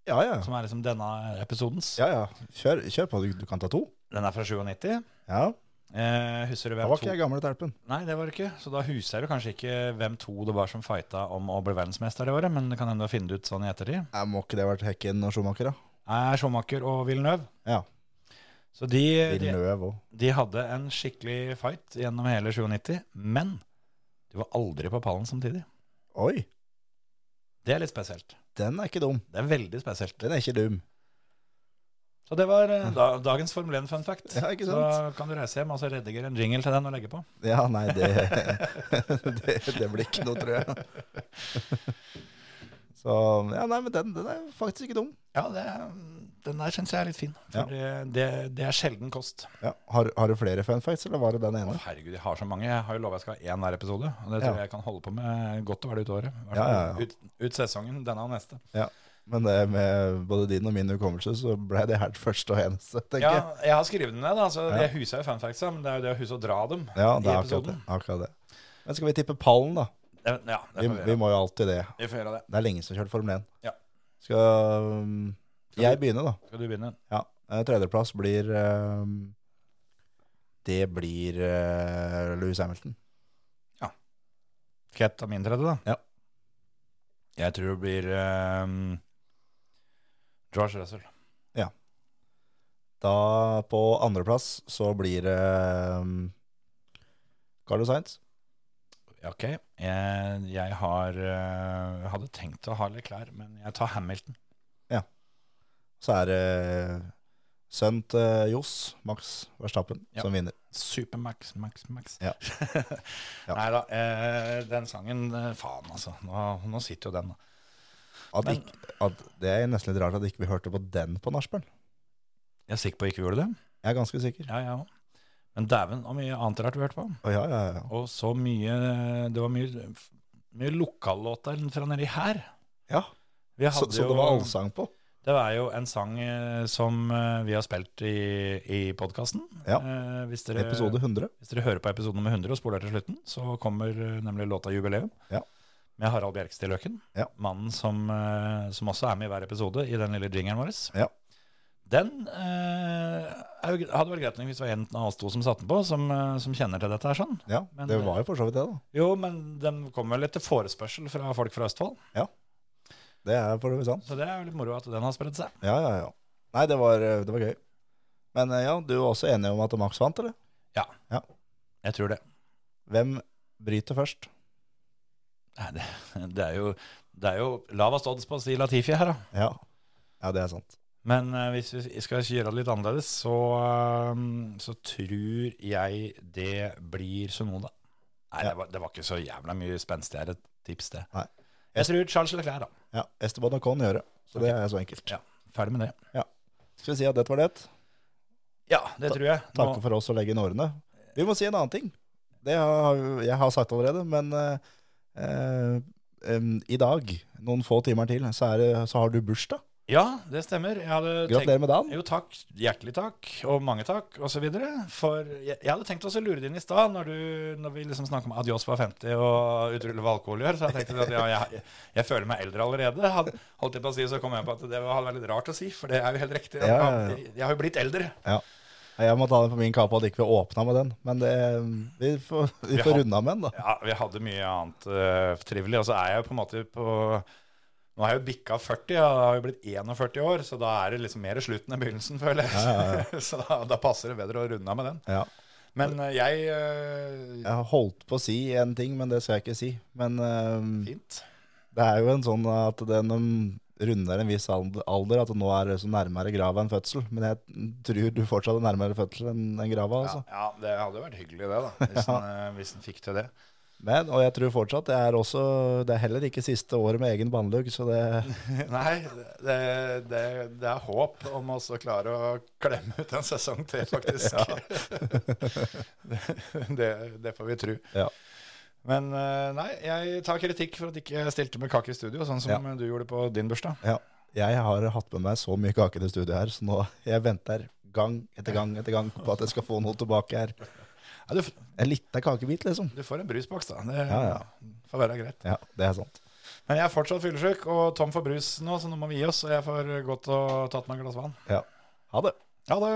Speaker 4: Ja, ja.
Speaker 3: som er liksom denne episodens?
Speaker 4: ja, ja. Kjør, kjør på. Du, du kan ta to.
Speaker 3: Den er fra 97.
Speaker 4: Ja,
Speaker 3: Eh, husker du
Speaker 4: Da
Speaker 3: hvem
Speaker 4: var
Speaker 3: to
Speaker 4: ikke jeg gamle terpen.
Speaker 3: Nei, det var det ikke. Så da husker du kanskje ikke hvem to det var som fighta om å bli verdensmester det året, men det kan hende du har funnet det ut sånn i ettertid.
Speaker 4: Jeg må ikke det ha vært Hekken og Schumacher, da?
Speaker 3: Er Schumacher og Villeneuve.
Speaker 4: Ja.
Speaker 3: Så de, de,
Speaker 4: Villeneuve òg.
Speaker 3: De hadde en skikkelig fight gjennom hele 97, men de var aldri på pallen samtidig.
Speaker 4: Oi,
Speaker 3: Det er litt spesielt.
Speaker 4: den er ikke dum.
Speaker 3: Det er veldig spesielt.
Speaker 4: Den er ikke dum.
Speaker 3: Så det var eh, da, dagens Formel 1 fun fact.
Speaker 4: Ja, ikke
Speaker 3: Så
Speaker 4: sant?
Speaker 3: kan du reise hjem og så redigere en jingle til den og legge på.
Speaker 4: Ja, nei, det, det, det blir ikke noe, tror jeg. Så Ja, nei, men den, den er faktisk ikke dum.
Speaker 3: Ja, det, den der syns jeg er litt fin. For det, det, det er sjelden kost.
Speaker 4: Ja. Har, har du flere fun facts, eller var det den ene?
Speaker 3: Herregud, jeg har så mange. Jeg har jo lova jeg skal ha én hver episode. Og det tror
Speaker 4: Ja.
Speaker 3: jeg jeg kan holde på med godt og vel ut året. I hvert
Speaker 4: Ja,
Speaker 3: fall
Speaker 4: ja, ja.
Speaker 3: Ut, ut sesongen, denne og neste.
Speaker 4: Ja. Men det med både din og min hukommelse, så ble det her det første og eneste, tenker
Speaker 3: Ja,
Speaker 4: jeg.
Speaker 3: jeg har skrevet dem ned. da, så
Speaker 4: Ja.
Speaker 3: Jeg husa jo fun facts, men det er jo det å huske å dra dem i
Speaker 4: Ja, det er akkurat det.
Speaker 3: episoden.
Speaker 4: Akkurat det. Men skal vi tippe pallen, da?
Speaker 3: Ja, det
Speaker 4: Vi,
Speaker 3: får vi
Speaker 4: vi
Speaker 3: gjøre.
Speaker 4: må jo alltid det.
Speaker 3: Vi får gjøre det.
Speaker 4: Det er lenge siden jeg har kjørt Formel 1.
Speaker 3: Ja.
Speaker 4: Skal um, jeg
Speaker 3: du-
Speaker 4: begynne, da?
Speaker 3: Skal du begynne?
Speaker 4: Ja. eh, Tredjeplass blir um, Det blir eh, Louis Hamilton.
Speaker 3: Skal jeg ta min tredje, da?
Speaker 4: Ja.
Speaker 3: Jeg tror det blir ehm, George Russell.
Speaker 4: Da på andreplass så blir det um, Carlo Sainz.
Speaker 3: Ja, Ok. Jeg, jeg har eh, jeg hadde tenkt å ha Leclerc, men jeg tar Hamilton.
Speaker 4: Så er det sønnen til Johs, Max Verstappen,
Speaker 3: Ja.
Speaker 4: som vinner.
Speaker 3: Supermax, max, max.
Speaker 4: Ja. Ja.
Speaker 3: Nei da, den sangen eh, Faen, altså. Nå, nå sitter jo den, da.
Speaker 4: At
Speaker 3: Men-
Speaker 4: ikke, at det er nesten litt rart at ikke vi hørte på den på nachspiel.
Speaker 3: Jeg er sikker på ikke vi gjorde det.
Speaker 4: Jeg er ganske sikker.
Speaker 3: Ja, jeg ja. òg. Men dæven, så mye annet rart vi hørte på.
Speaker 4: Å, ja, ja, ja.
Speaker 3: Og så mye Det var mye, mye lokallåter fra nedi her.
Speaker 4: ja.
Speaker 3: Vi
Speaker 4: Så,
Speaker 3: hadde
Speaker 4: så det
Speaker 3: jo-
Speaker 4: var allsang på.
Speaker 3: Det var jo en sang eh, som eh, vi har spilt i, i podkasten.
Speaker 4: Ja.
Speaker 3: Eh, hvis, dere-
Speaker 4: Episode 100.
Speaker 3: hvis dere hører på episode nummer 100 og spoler til slutten, så kommer eh, nemlig låta 'Jubileum'
Speaker 4: Ja.
Speaker 3: med Harald Bjerkstad Løken.
Speaker 4: Ja.
Speaker 3: Mannen som, eh, som også er med i hver episode i den lille jingeren vår.
Speaker 4: Ja.
Speaker 3: Den eh, er jo gre- hadde vært greit nok hvis det var en av oss to som satte den på, som, eh, som kjenner til dette her sånn.
Speaker 4: Ja,
Speaker 3: Men-
Speaker 4: det var jo for så vidt det, da.
Speaker 3: Jo, men den kom vel etter forespørsel fra folk fra Østfold,
Speaker 4: Det er for så vidt sant.
Speaker 3: så det er jo litt moro at den har spredd seg.
Speaker 4: Ja, ja, ja. Nei, det var, eh, det var gøy. Men eh, ja, du var også enig om at Max vant, eller?
Speaker 3: Jeg tror det.
Speaker 4: Hvem bryter først?
Speaker 3: Nei, det, det, er jo, det er jo lavest odds på å si Latifi her, da.
Speaker 4: Ja. ja, det er sant.
Speaker 3: Men eh, hvis vi skal gjøre det litt annerledes, så, eh, så tror jeg det blir Sunoda. Nei,
Speaker 4: Ja.
Speaker 3: det, var, det var ikke så jævla mye spenstig her, et tips det.
Speaker 4: Nei.
Speaker 3: Jeg tror Charles Leclerc, da.
Speaker 4: Ja, Esteban og Con gjør det. Så det er så enkelt.
Speaker 3: Ja. Ferdig med det.
Speaker 4: Skal vi si at dette var det?
Speaker 3: Ja, det tror jeg. Nå,
Speaker 4: Takk for oss å legge inn årene. Vi må si en annen ting. Det har jeg har sagt allerede, men eh, eh, em, i dag, noen få timer til, så, er det, så har du bursdag.
Speaker 3: Ja, det stemmer. Jeg hadde
Speaker 4: Gratulerer med dagen.
Speaker 3: Jo, takk. Hjertelig takk, og mange takk, osv. For jeg, jeg hadde tenkt også å lure det inn i stad, når, du- når vi liksom snakker om Adios var 50 og utrulle hva alkohol gjør. Så jeg tenkte at ja, jeg, jeg føler meg eldre allerede. Had, holdt jeg på å si, så kom jeg på at det var- hadde vært litt rart å si, for det er jo helt riktig. Jeg,
Speaker 4: Ja, ja, ja.
Speaker 3: jeg, har jo blitt eldre.
Speaker 4: Ja. Jeg må ta den på min kappe at ikke vi åpna med den. Men det, vi får, vi
Speaker 3: Vi
Speaker 4: får
Speaker 3: har-
Speaker 4: runda med den, da.
Speaker 3: Ja, vi hadde mye annet eh, trivelig, og så er jeg jo på en måte på Nå har jeg jo bikka 40, og jeg har jo blitt 41 år, så da er det liksom mer slutten enn begynnelsen, føler jeg. så da, da passer det bedre å runde av med den.
Speaker 4: Ja.
Speaker 3: Men eh, jeg eh,
Speaker 4: Jeg har holdt på å si en ting, men det skal jeg ikke si. Men eh,
Speaker 3: Fint.
Speaker 4: det er jo en sånn at den um, runder en viss ald- alder, at det nå er det så nærmere grava enn fødsel. Men jeg tror du fortsatt er nærmere fødsel enn enn grava,
Speaker 3: Ja,
Speaker 4: altså.
Speaker 3: ja, det hadde vært hyggelig det, da. Hvis en, eh, hvis en fikk til det.
Speaker 4: Men, og jeg tror fortsatt det er også Det er heller ikke siste året med egen bannelugg, så det
Speaker 3: Nei, det, det, det er håp om å også klare å klemme ut en sesong til, faktisk. det, det, det får vi tro.
Speaker 4: Ja.
Speaker 3: Men eh, nei, jeg tar kritikk for at ikke jeg stilte med kake i studio, sånn som
Speaker 4: Ja.
Speaker 3: du gjorde på din bursdag.
Speaker 4: ja. Jeg har hatt med meg så mye kake til studio her, så nå jeg venter gang etter gang etter gang på at jeg skal få noe tilbake her.
Speaker 3: Ja, du, f-
Speaker 4: En liten kakebit, liksom.
Speaker 3: du får en brusboks, da. Det
Speaker 4: Ja, ja.
Speaker 3: får være greit.
Speaker 4: Ja, det er sant.
Speaker 3: Men jeg er fortsatt fyllesyk og tom for brus nå, så nå må vi gi oss. Og jeg får gått og tatt meg et glass vann.
Speaker 4: Ja. Ha det.
Speaker 3: Ha det!